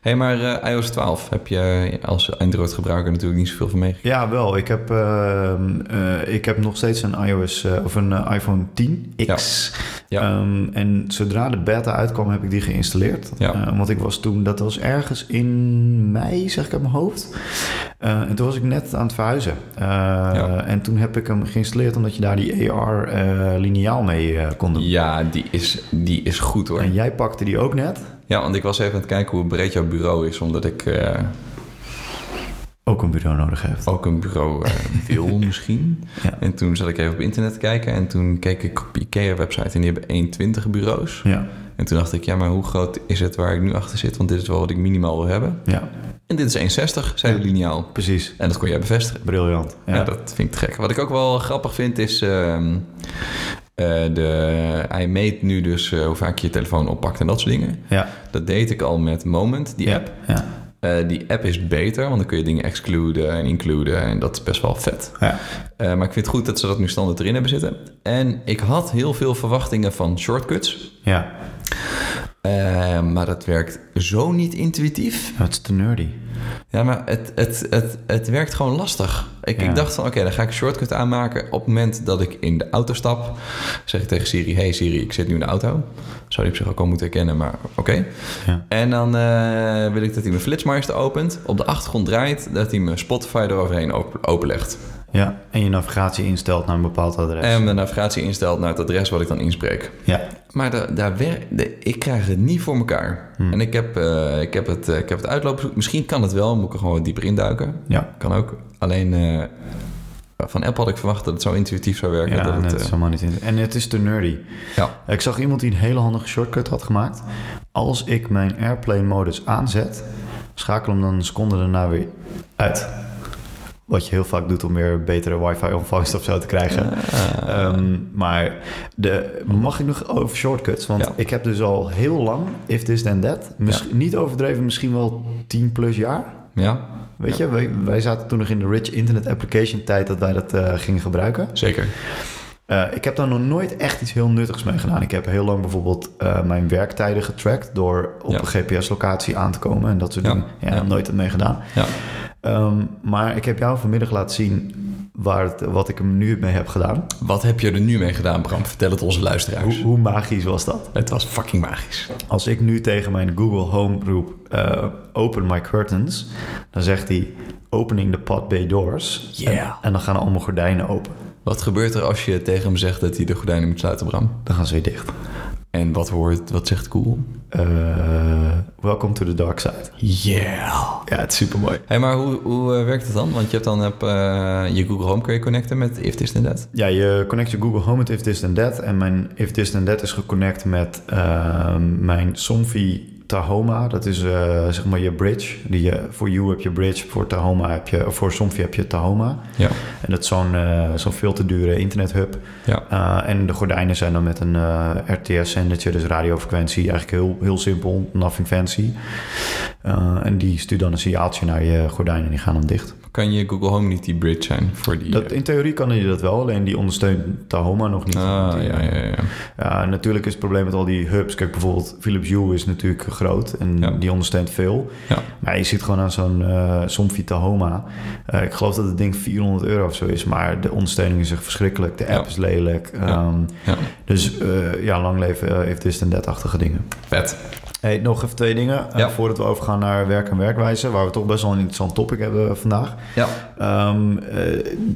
Speaker 2: Hé, hey, maar eh, iOS 12 heb je als Android-gebruiker natuurlijk niet zoveel van meegekregen.
Speaker 1: Ja, wel. Ik heb, ehm, eh, ik heb nog steeds een iOS eh, of een eh, iPhone 10 X.
Speaker 2: Ja. Ja.
Speaker 1: Ehm, en zodra de beta uitkwam, heb ik die geïnstalleerd.
Speaker 2: Ja.
Speaker 1: Eh, want ik was toen, dat was ergens in mei, zeg ik uit mijn hoofd. Eh, en toen was ik net aan het verhuizen. Eh, En toen heb ik hem geïnstalleerd omdat je daar die AR eh lineaal mee eh, kon doen.
Speaker 2: Ja, die is, die is goed hoor.
Speaker 1: En jij pakte die ook net.
Speaker 2: Ja, want ik was even aan het kijken hoe breed jouw bureau is, omdat ik eh,
Speaker 1: Ook een bureau nodig heeft.
Speaker 2: ook een bureau eh, wil misschien.
Speaker 1: Ja.
Speaker 2: En toen zat ik even op internet te kijken en toen keek ik op IKEA-website en die hebben 120 bureaus.
Speaker 1: Ja,
Speaker 2: En toen dacht ik, ja, maar hoe groot is het waar ik nu achter zit? Want dit is wel wat ik minimaal wil hebben.
Speaker 1: ja,
Speaker 2: En dit is 1,60, zei de lineaal.
Speaker 1: precies.
Speaker 2: En dat kon jij bevestigen.
Speaker 1: Briljant. Ja.
Speaker 2: Ja. dat vind ik te gek. Wat ik ook wel grappig vind is... ehm, eh, de, hij meet nu dus eh, hoe vaak je je telefoon oppakt en dat soort dingen.
Speaker 1: ja.
Speaker 2: Dat deed ik al met Moment, die app.
Speaker 1: Ja.
Speaker 2: Eh, die app is beter, want dan kun je dingen excluden en includen. En dat is best wel vet.
Speaker 1: ja.
Speaker 2: Eh, maar ik vind het goed dat ze dat nu standaard erin hebben zitten. En ik had heel veel verwachtingen van shortcuts.
Speaker 1: ja.
Speaker 2: Eh, maar dat werkt zo niet intuïtief.
Speaker 1: Ja, Het is te nerdy.
Speaker 2: Ja, maar het, het, het, het werkt gewoon lastig. Ik,
Speaker 1: Ja.
Speaker 2: ik dacht van, oké, dan ga ik een shortcut aanmaken. Op het moment dat ik in de auto stap, zeg ik tegen Siri... hey Siri, ik zit nu in de auto. Zou die op zich ook al moeten herkennen, maar oké.
Speaker 1: Ja.
Speaker 2: En dan eh, wil ik dat hij mijn flitsmeister opent, op de achtergrond draait... dat hij mijn Spotify eroverheen op- openlegt.
Speaker 1: ja, en je navigatie instelt naar een bepaald adres.
Speaker 2: En mijn navigatie instelt naar het adres wat ik dan inspreek.
Speaker 1: ja,
Speaker 2: Maar da- daar wer- de- ik krijg het niet voor elkaar. En ik heb, eh, ik, heb het, eh, ik heb het uitloopbezoek. Misschien kan het wel, moet ik er gewoon wat dieper induiken.
Speaker 1: ja.
Speaker 2: Kan ook. Alleen eh, van Apple had ik verwacht dat het zo intuïtief zou werken.
Speaker 1: Ja,
Speaker 2: dat
Speaker 1: en
Speaker 2: het,
Speaker 1: het is
Speaker 2: eh,
Speaker 1: helemaal niet in. En het is te nerdy.
Speaker 2: ja.
Speaker 1: Ik zag iemand die een hele handige shortcut had gemaakt. Als ik mijn airplane modus aanzet, schakel hem dan een seconde daarna weer uit. Wat je heel vaak doet om weer betere wifi ontvangst of zo te krijgen. Ehm, maar de, mag ik nog over shortcuts? Want
Speaker 2: Ja.
Speaker 1: ik heb dus al heel lang, if this then that, misschien, niet overdreven, misschien wel 10 plus jaar.
Speaker 2: ja,
Speaker 1: Weet je, wij, wij zaten toen nog in de rich internet application tijd dat wij dat eh, gingen gebruiken.
Speaker 2: zeker.
Speaker 1: Eh, ik heb daar nog nooit echt iets heel nuttigs mee gedaan. Ik heb heel lang bijvoorbeeld eh, mijn werktijden getrackt door op
Speaker 2: Ja.
Speaker 1: een GPS-locatie aan te komen en dat soort
Speaker 2: Ja.
Speaker 1: dingen. Ja,
Speaker 2: Ja.
Speaker 1: nooit dat mee gedaan.
Speaker 2: Ja.
Speaker 1: Ehm, maar ik heb jou vanmiddag laten zien waar het, wat ik hem nu mee heb gedaan.
Speaker 2: Wat heb je er nu mee gedaan, Bram? Vertel het onze luisteraars.
Speaker 1: Hoe, hoe magisch was dat?
Speaker 2: Het was fucking magisch.
Speaker 1: Als ik nu tegen mijn Google Home roep, eh, open my curtains, dan zegt hij, opening the pod bay doors.
Speaker 2: Yeah.
Speaker 1: En, en dan gaan allemaal gordijnen open.
Speaker 2: Wat gebeurt er als je tegen hem zegt dat hij de gordijnen moet sluiten, Bram?
Speaker 1: Dan gaan ze weer dicht.
Speaker 2: En wat, hoort, wat zegt Google?
Speaker 1: Eh, welcome to the dark side.
Speaker 2: Yeah.
Speaker 1: Ja, het is super mooi.
Speaker 2: Hé, maar hoe, hoe eh, werkt het dan? Want je hebt dan heb, eh, je Google Home kun je connecten met If This Then That.
Speaker 1: Ja, je connect je Google Home met If This Then That. En mijn If This Then That is geconnect met ehm, mijn Somfy Tahoma. Dat is eh, zeg maar je bridge. Die je, voor You heb je bridge, voor, Tahoma heb je, of voor Somfy heb je Tahoma.
Speaker 2: Ja.
Speaker 1: En dat is zo'n eh, zo'n veel te dure internethub.
Speaker 2: Ja.
Speaker 1: Eh, en de gordijnen zijn dan met een eh, RTS-zendertje, dus radiofrequentie. Eigenlijk heel, heel simpel, nothing fancy. Eh, en die stuurt dan een signaaltje naar je gordijnen en die gaan dan dicht.
Speaker 2: Kan je Google Home niet die bridge zijn voor die...
Speaker 1: Dat,
Speaker 2: eh,
Speaker 1: in theorie kan je dat wel, alleen die ondersteunt Tahoma nog niet. eh,
Speaker 2: ah, ja, ja, ja.
Speaker 1: Ja, natuurlijk is het probleem met al die hubs. Kijk, bijvoorbeeld Philips Hue is natuurlijk groot en
Speaker 2: Ja.
Speaker 1: die ondersteunt veel.
Speaker 2: Ja.
Speaker 1: Maar je zit gewoon aan zo'n eh Somfy Tahoma. Eh, ik geloof dat het ding 400 euro of zo is, maar de ondersteuning is echt verschrikkelijk. De app
Speaker 2: Ja.
Speaker 1: is lelijk.
Speaker 2: Ja.
Speaker 1: Ehm,
Speaker 2: ja.
Speaker 1: Dus eh, ja, lang leven eh, heeft dit en dat-achtige dingen.
Speaker 2: Vet.
Speaker 1: Hey, nog even twee dingen eh,
Speaker 2: Ja.
Speaker 1: voordat we overgaan naar werk en werkwijze, waar we toch best wel een interessant topic hebben vandaag.
Speaker 2: Ja.
Speaker 1: Ehm, eh,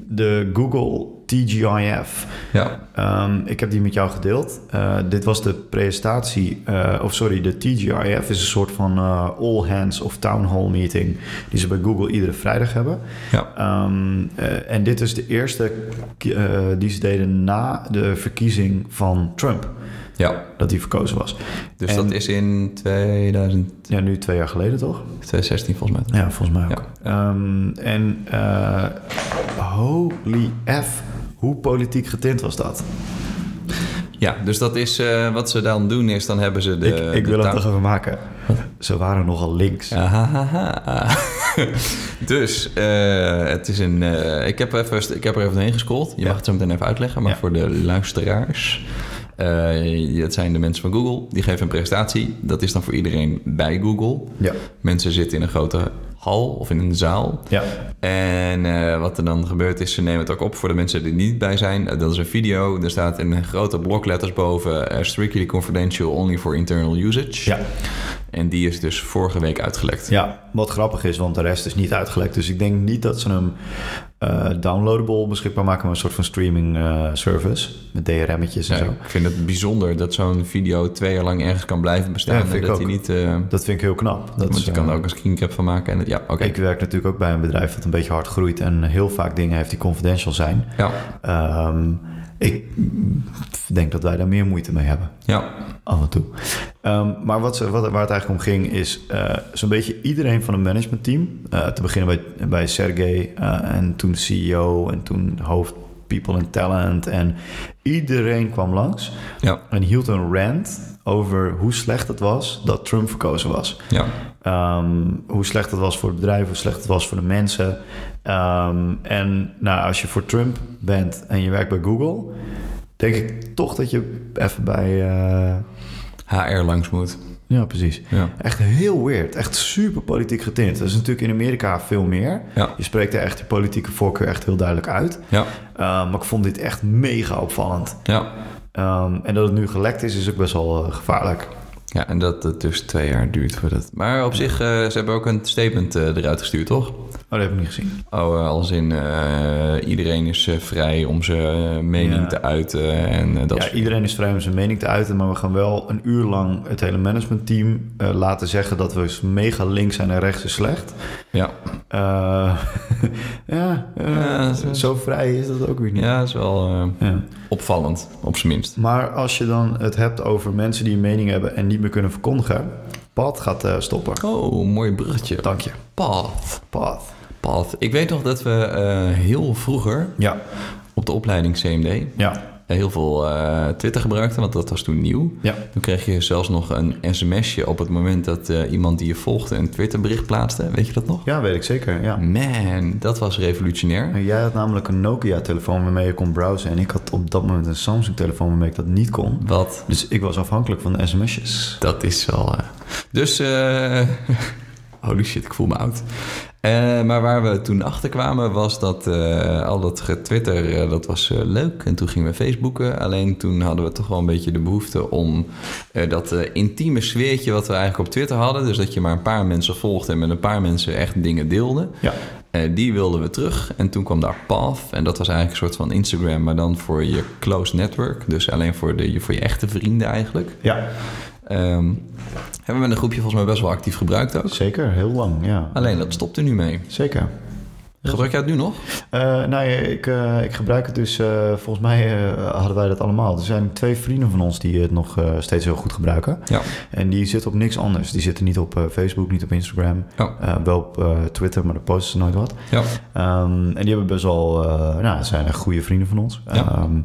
Speaker 1: de Google TGIF.
Speaker 2: Ja.
Speaker 1: Ehm, ik heb die met jou gedeeld. Eh, dit was de presentatie, eh, of sorry, de TGIF is een soort van eh, all hands of town hall meeting die ze bij Google iedere vrijdag hebben.
Speaker 2: Ja.
Speaker 1: Ehm, eh, en dit is de eerste ki- eh, die ze deden na de verkiezing van Trump,
Speaker 2: Ja.
Speaker 1: dat hij verkozen was.
Speaker 2: Dus
Speaker 1: En-
Speaker 2: dat is in 2000,
Speaker 1: Ja, nu twee jaar geleden toch?
Speaker 2: 2016 volgens mij.
Speaker 1: Ja, volgens mij ook. Ehm, en eh, holy F, hoe politiek getint was dat?
Speaker 2: Ja, dus dat is eh, wat ze dan doen is dan hebben ze de...
Speaker 1: ik ik
Speaker 2: Eh, de
Speaker 1: wil hem
Speaker 2: taal-
Speaker 1: toch even maken. Ze waren nogal links.
Speaker 2: Ahahaha. dus eh, het is een. eh, ik, heb even, ik heb er even doorheen gescrollt. Je
Speaker 1: Ja.
Speaker 2: mag het zo meteen even uitleggen. Maar
Speaker 1: Ja.
Speaker 2: voor de luisteraars. eh het zijn de mensen van Google. Die geven een presentatie. Dat is dan voor iedereen bij Google.
Speaker 1: Ja.
Speaker 2: Mensen zitten in een grote hal of in een zaal.
Speaker 1: Ja.
Speaker 2: En eh, wat er dan gebeurt is, ze nemen het ook op voor de mensen die er niet bij zijn. Eh, dat is een video. Er staat in grote blokletters boven... eh, strictly confidential, only for internal usage.
Speaker 1: Ja.
Speaker 2: En die is dus vorige week uitgelekt.
Speaker 1: ja, wat grappig is, want de rest is niet uitgelekt. Dus ik denk niet dat ze hem eh, downloadable beschikbaar maken, maar een soort van streaming eh, service met DRM'tjes en
Speaker 2: Ja,
Speaker 1: zo.
Speaker 2: Dus ik vind het bijzonder dat zo'n video twee jaar lang ergens kan blijven
Speaker 1: Ja,
Speaker 2: bestaan.
Speaker 1: vind
Speaker 2: en
Speaker 1: ik
Speaker 2: dat
Speaker 1: ook.
Speaker 2: hij niet. eh,
Speaker 1: Dat vind ik heel knap. Dat
Speaker 2: want
Speaker 1: is,
Speaker 2: je kan
Speaker 1: eh,
Speaker 2: er ook een screencap van maken. En, het- ja, oké.
Speaker 1: Ik werk natuurlijk ook bij een bedrijf dat een beetje hard groeit en heel vaak dingen heeft die confidential zijn.
Speaker 2: Ja,
Speaker 1: Ehm, ik denk dat wij daar meer moeite mee hebben,
Speaker 2: ja,
Speaker 1: af en toe. Ehm, maar wat ze, wat, waar het eigenlijk om ging is eh, zo'n beetje iedereen van het managementteam. eh, te beginnen bij, bij Sergey eh, en toen CEO en toen hoofd People and Talent. En iedereen kwam langs
Speaker 2: ja,
Speaker 1: en hield een rant over hoe slecht het was dat Trump verkozen was.
Speaker 2: ja,
Speaker 1: Ehm, hoe slecht het was voor het bedrijf, hoe slecht het was voor de mensen. Ehm, en nou, als je voor Trump bent en je werkt bij Google, denk ik toch dat je even bij. eh,
Speaker 2: HR langs moet.
Speaker 1: Ja, precies.
Speaker 2: Ja.
Speaker 1: Echt heel weird. Echt super politiek getint. Dat is natuurlijk in Amerika veel meer.
Speaker 2: Ja.
Speaker 1: Je spreekt daar echt je politieke voorkeur echt heel duidelijk uit.
Speaker 2: Ja.
Speaker 1: Uh, maar ik vond dit echt mega opvallend.
Speaker 2: Ja.
Speaker 1: Um, en dat het nu gelekt is, is ook best wel uh, gevaarlijk.
Speaker 2: Ja, en dat het dus twee jaar duurt voordat. Maar op zich, eh, ze hebben ook een statement eh, eruit gestuurd, toch?
Speaker 1: Oh, dat heb ik niet gezien.
Speaker 2: Oh, eh, als in eh, iedereen is eh, vrij om zijn eh, mening
Speaker 1: Ja.
Speaker 2: te uiten en eh, dat
Speaker 1: ja,
Speaker 2: soort-
Speaker 1: iedereen is vrij om zijn mening te uiten. Maar we gaan wel een uur lang het hele managementteam eh, laten zeggen dat we mega links zijn en rechts is slecht.
Speaker 2: Ja.
Speaker 1: Eh, ja, eh,
Speaker 2: Ja, zo-
Speaker 1: zo vrij is dat ook weer niet.
Speaker 2: ja, dat is wel eh,
Speaker 1: Ja.
Speaker 2: opvallend, op zijn minst.
Speaker 1: Maar als je dan het hebt over mensen die een mening hebben en niet meer kunnen verkondigen, Pat gaat eh, stoppen.
Speaker 2: Oh, mooi bruggetje.
Speaker 1: Dank je.
Speaker 2: Path.
Speaker 1: Pat.
Speaker 2: Path. Ik weet nog dat we eh, heel vroeger
Speaker 1: Ja,
Speaker 2: op de opleiding CMD
Speaker 1: ja,
Speaker 2: eh, heel veel eh, Twitter gebruikten, want dat was toen nieuw.
Speaker 1: ja.
Speaker 2: Toen kreeg je zelfs nog een sms'je op het moment dat eh, iemand die je volgde een Twitterbericht plaatste. Weet je dat nog?
Speaker 1: Ja, weet ik zeker. Ja.
Speaker 2: Man, dat was revolutionair.
Speaker 1: Jij had namelijk een Nokia-telefoon waarmee je kon browsen. En ik had op dat moment een Samsung-telefoon waarmee ik dat niet kon.
Speaker 2: Wat?
Speaker 1: Dus ik was afhankelijk van de sms'jes.
Speaker 2: Dat is wel. eh, Dus. eh, holy shit, ik voel me oud. Eh, maar waar we toen achter kwamen was dat eh, al dat getwitter, eh, dat was eh, leuk. En toen gingen we Facebooken. Alleen toen hadden we toch wel een beetje de behoefte om eh, dat eh, intieme sfeertje wat we eigenlijk op Twitter hadden. Dus dat je maar een paar mensen volgde en met een paar mensen echt dingen deelde.
Speaker 1: Ja,
Speaker 2: Eh, die wilden we terug. En toen kwam daar Path. En dat was eigenlijk een soort van Instagram, maar dan voor je close network. Dus alleen voor, de, voor je echte vrienden eigenlijk.
Speaker 1: ja.
Speaker 2: Ehm, hebben we met een groepje volgens mij best wel actief gebruikt ook.
Speaker 1: zeker. Heel lang, ja.
Speaker 2: Alleen dat stopt er nu mee.
Speaker 1: Zeker.
Speaker 2: Gebruik jij het nu nog?
Speaker 1: Eh, nou ja, ik, eh, ik gebruik het dus. eh, volgens mij eh, hadden wij dat allemaal. Er zijn twee vrienden van ons die het nog eh, steeds heel goed gebruiken.
Speaker 2: Ja.
Speaker 1: En die zitten op niks anders. Die zitten niet op eh, Facebook, niet op Instagram.
Speaker 2: Ja.
Speaker 1: Eh, wel op eh, Twitter, maar daar posten ze nooit wat.
Speaker 2: Ja.
Speaker 1: Ehm, en die hebben best wel... eh, nou, het zijn echt goede vrienden van ons.
Speaker 2: Ja.
Speaker 1: Ehm,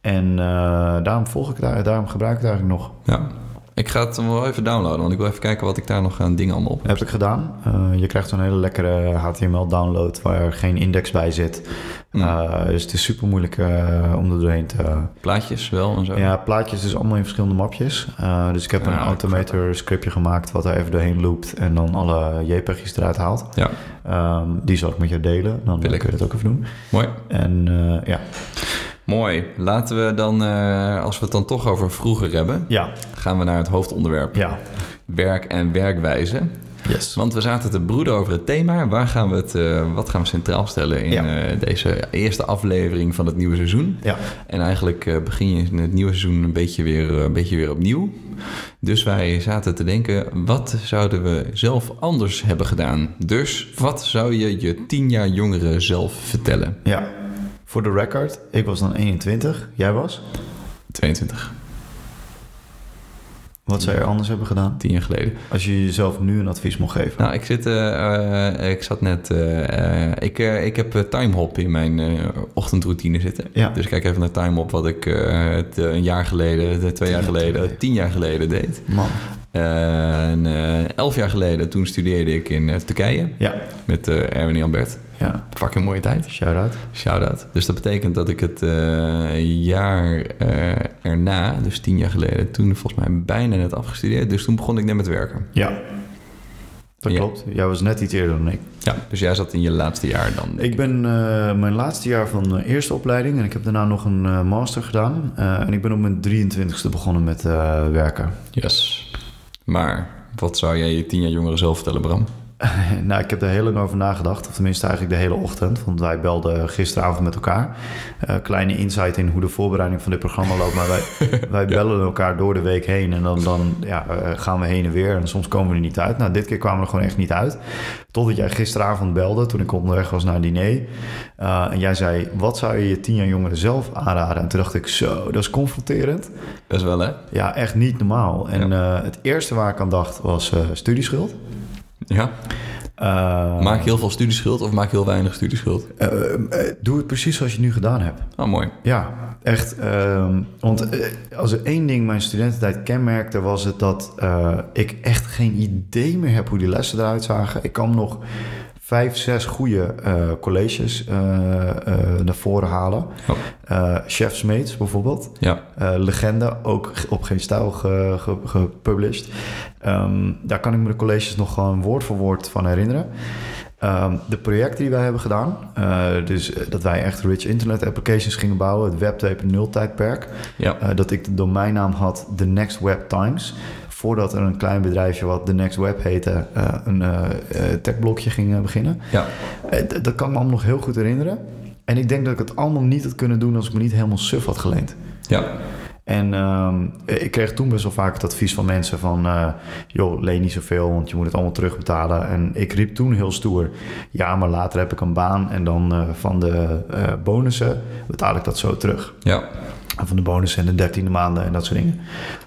Speaker 1: en eh, daarom volg ik daar, daarom gebruik ik het eigenlijk nog.
Speaker 2: ja. Ik ga het wel even downloaden, want ik wil even kijken wat ik daar nog aan dingen allemaal op heb.
Speaker 1: Heb ik gedaan. Eh, je krijgt zo'n hele lekkere HTML-download waar geen index bij zit.
Speaker 2: Mm.
Speaker 1: Eh, dus het is super moeilijk eh, om er doorheen te...
Speaker 2: Plaatjes wel en zo.
Speaker 1: Ja, plaatjes dus allemaal in verschillende mapjes. Eh, dus ik heb een
Speaker 2: Ja,
Speaker 1: automator scriptje gemaakt wat er even doorheen loopt en dan alle JPEG's eruit haalt.
Speaker 2: Ja,
Speaker 1: Ehm, die zal ik met jou delen. Dan
Speaker 2: Wil ik.
Speaker 1: kun je dat ook even doen.
Speaker 2: mooi.
Speaker 1: En eh, ja.
Speaker 2: Mooi. Laten we dan, eh, als we het dan toch over vroeger hebben,
Speaker 1: Ja.
Speaker 2: gaan we naar het hoofdonderwerp.
Speaker 1: Ja.
Speaker 2: Werk en werkwijze.
Speaker 1: Yes.
Speaker 2: Want we zaten te broeden over het thema. Waar gaan we het, eh, wat gaan we centraal stellen in
Speaker 1: Ja.
Speaker 2: eh, deze eerste aflevering van het nieuwe seizoen?
Speaker 1: Ja.
Speaker 2: En eigenlijk eh, begin je in het nieuwe seizoen een beetje, weer, eh, een beetje weer opnieuw. Dus wij zaten te denken, wat zouden we zelf anders hebben gedaan? Dus wat zou je je tien jaar jongere zelf vertellen?
Speaker 1: Ja. Voor de record, ik was dan 21. Jij was?
Speaker 2: 22,
Speaker 1: Wat zou je anders hebben gedaan?
Speaker 2: tien jaar geleden.
Speaker 1: Als je jezelf nu een advies mocht geven.
Speaker 2: Nou, ik, zit, eh, eh, ik zat net... eh, eh, ik, eh, ik heb eh, timehop in mijn eh, ochtendroutine zitten.
Speaker 1: Ja.
Speaker 2: Dus ik kijk even naar timehop wat ik eh, het, eh, een jaar geleden, de twee jaar
Speaker 1: jaar
Speaker 2: geleden,
Speaker 1: geleden.
Speaker 2: tien jaar geleden deed.
Speaker 1: Man.
Speaker 2: En eh, elf jaar geleden, toen studeerde ik in eh, Turkije.
Speaker 1: Ja.
Speaker 2: Met eh Erwin en Albert.
Speaker 1: Ja.
Speaker 2: Fucking mooie tijd.
Speaker 1: Shout-out.
Speaker 2: Shout-out. Dus dat betekent dat ik het eh, jaar eh, erna, dus tien jaar geleden, toen volgens mij bijna net afgestudeerd. Dus toen begon ik net met werken.
Speaker 1: Ja. Dat
Speaker 2: Ja.
Speaker 1: klopt. Jij was net iets eerder dan ik.
Speaker 2: Ja. Dus jij zat in je laatste jaar dan.
Speaker 1: Ik ben eh, mijn laatste jaar van de eerste opleiding en ik heb daarna nog een eh, master gedaan. Eh, en ik ben op mijn 23ste begonnen met eh, werken.
Speaker 2: Yes. Maar wat zou jij je tien jaar jongeren zelf vertellen, Bram?
Speaker 1: nou, ik heb er heel lang over nagedacht. Of tenminste eigenlijk de hele ochtend. Want wij belden gisteravond met elkaar. Eh, kleine insight in hoe de voorbereiding van dit programma loopt. Maar wij, wij bellen elkaar door de week heen. En dan, dan ja, eh, gaan we heen en weer. En soms komen we er niet uit. Nou, dit keer kwamen we er gewoon echt niet uit. Totdat jij gisteravond belde toen ik onderweg was naar een diner. Eh, en jij zei, wat zou je je tien jaar jongeren zelf aanraden? En toen dacht ik, zo, dat is confronterend.
Speaker 2: Best wel, hè?
Speaker 1: Ja, echt niet normaal. En eh, het eerste waar ik aan dacht was eh, studieschuld.
Speaker 2: Ja.
Speaker 1: Eh,
Speaker 2: Maak heel veel studieschuld of maak heel weinig studieschuld?
Speaker 1: Eh, eh, doe het precies zoals je het nu gedaan hebt.
Speaker 2: Oh, mooi.
Speaker 1: Ja, echt. ehm, want eh, als er één ding mijn studententijd kenmerkte, was het dat eh, ik echt geen idee meer heb hoe die lessen eruit zagen. Ik kan nog vijf, zes goede eh, colleges eh, eh, naar voren halen.
Speaker 2: Oh.
Speaker 1: Eh, Chef Smeets bijvoorbeeld.
Speaker 2: Ja.
Speaker 1: Eh, legende, ook g- op geen stijl ge- ge- gepublished. Ehm, daar kan ik me de colleges nog gewoon woord voor woord van herinneren. Ehm, de projecten die wij hebben gedaan, eh, dus eh, dat wij echt rich internet applications gingen bouwen, het Web 2.0 tijdperk.
Speaker 2: Ja.
Speaker 1: Eh, dat ik de domeinnaam had The Next Web Times. Voordat er een klein bedrijfje wat The Next Web heette, eh, een eh, eh, techblokje ging eh, beginnen.
Speaker 2: Ja.
Speaker 1: Eh, d- dat kan ik me allemaal nog heel goed herinneren. En ik denk dat ik het allemaal niet had kunnen doen als ik me niet helemaal suf had geleend.
Speaker 2: Ja.
Speaker 1: En ehm, ik kreeg toen best wel vaak het advies van mensen van... eh, joh, leen niet zoveel, want je moet het allemaal terugbetalen. En ik riep toen heel stoer... ja, maar later heb ik een baan en dan eh, van de eh, bonussen betaal ik dat zo terug.
Speaker 2: Ja.
Speaker 1: En Van de bonussen en de dertiende maanden en dat soort dingen.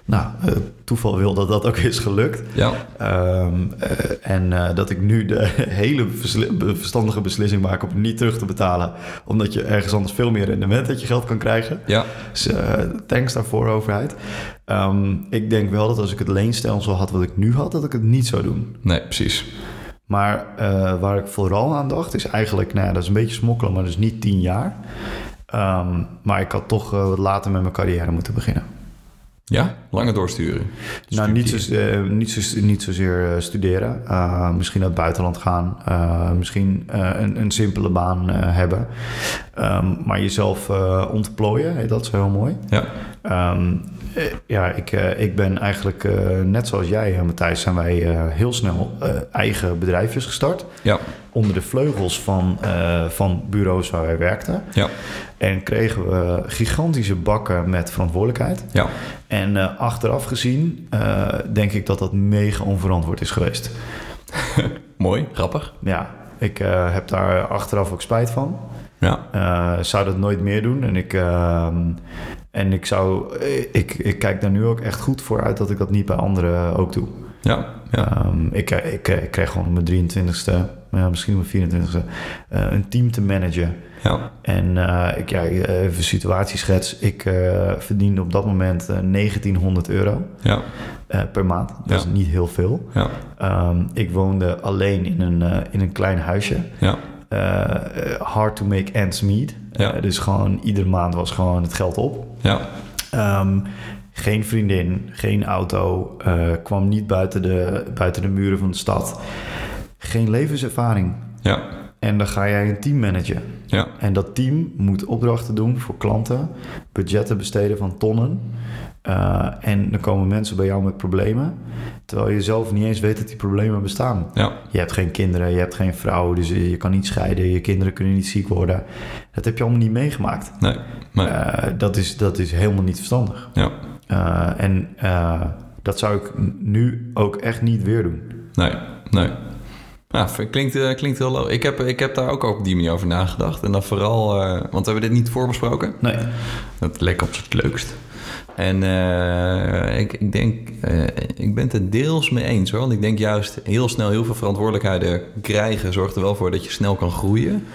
Speaker 1: Nou, eh, toeval wil dat dat ook is gelukt.
Speaker 2: Ja.
Speaker 1: Ehm, eh, en eh, dat ik nu de hele versli- be- verstandige beslissing maak om niet terug te betalen. Omdat je ergens anders veel meer rendement uit je geld kan krijgen.
Speaker 2: Ja.
Speaker 1: Dus eh, thanks daarvoor, overheid. Ehm, ik denk wel dat als ik het leenstelsel had wat ik nu had, dat ik het niet zou doen.
Speaker 2: Nee, precies.
Speaker 1: Maar eh, waar ik vooral aan dacht is eigenlijk, nou ja, dat is een beetje smokkelen, maar dus niet tien jaar. Ehm, maar ik had toch eh, wat later met mijn carrière moeten beginnen.
Speaker 2: Ja? Langer doorsturen.
Speaker 1: Nou, niet,
Speaker 2: Studeren.
Speaker 1: zo, eh, niet, zo, niet zozeer eh, studeren. Eh, misschien naar het buitenland gaan. Eh, misschien eh, een, een simpele baan eh, hebben. Ehm, maar jezelf eh, ontplooien, eh, dat is heel mooi.
Speaker 2: Ja.
Speaker 1: Ehm, eh, ja, ik, eh, ik ben eigenlijk, eh, net zoals jij, eh, Matthijs, zijn wij eh, heel snel eh, eigen bedrijfjes gestart.
Speaker 2: Ja.
Speaker 1: Onder de vleugels van, eh, van bureaus waar wij werkten.
Speaker 2: Ja.
Speaker 1: En kregen we gigantische bakken met verantwoordelijkheid.
Speaker 2: Ja.
Speaker 1: En eh, achteraf gezien eh, denk ik dat dat mega onverantwoord is geweest.
Speaker 2: Mooi. Grappig.
Speaker 1: Ja, ik eh, heb daar achteraf ook spijt van.
Speaker 2: Ja.
Speaker 1: Eh, zou dat nooit meer doen. En ik, ehm, en ik zou. Ik, ik kijk daar nu ook echt goed voor uit dat ik dat niet bij anderen ook doe.
Speaker 2: Ja. Ja.
Speaker 1: Ehm, ik, eh, ik, eh, ik kreeg gewoon op mijn 23ste, ja, misschien op mijn 24ste, eh, een team te managen.
Speaker 2: Ja.
Speaker 1: En eh, ik, ja, even een situatieschets. Ik eh, verdiende op dat moment eh, 1900 euro
Speaker 2: Ja.
Speaker 1: eh, per maand. Dat
Speaker 2: Ja.
Speaker 1: is niet heel veel.
Speaker 2: Ja.
Speaker 1: Ehm, ik woonde alleen in een, eh, in een klein huisje.
Speaker 2: Ja.
Speaker 1: Eh, eh, hard to make ends meet.
Speaker 2: Ja.
Speaker 1: Eh, dus gewoon iedere maand was gewoon het geld op.
Speaker 2: Ja.
Speaker 1: Ehm, geen vriendin, geen auto, eh, kwam niet buiten de, buiten de muren van de stad. Geen levenservaring.
Speaker 2: Ja.
Speaker 1: En dan ga jij een team managen.
Speaker 2: Ja.
Speaker 1: En dat team moet opdrachten doen voor klanten, budgetten besteden van tonnen. Eh, en dan komen mensen bij jou met problemen, terwijl je zelf niet eens weet dat die problemen bestaan.
Speaker 2: Ja.
Speaker 1: Je hebt geen kinderen, je hebt geen vrouw, dus je je kan niet scheiden, je kinderen kunnen niet ziek worden. Dat heb je allemaal niet meegemaakt.
Speaker 2: Nee. Nee.
Speaker 1: Eh, dat, is, dat is helemaal niet verstandig.
Speaker 2: Ja.
Speaker 1: Eh, en eh, dat zou ik n- nu ook echt niet weer doen.
Speaker 2: Nee. Nee. Ja, v- klinkt, eh, klinkt heel logisch. Ik heb, ik heb daar ook op die manier over nagedacht. En dan vooral, eh, want we hebben dit niet voorbesproken.
Speaker 1: Nee.
Speaker 2: Dat leek op het leukst. En eh, ik, ik denk, eh, ik ben het er deels mee eens hoor. Want ik denk juist heel snel heel veel verantwoordelijkheden krijgen zorgt er wel voor dat je snel kan groeien.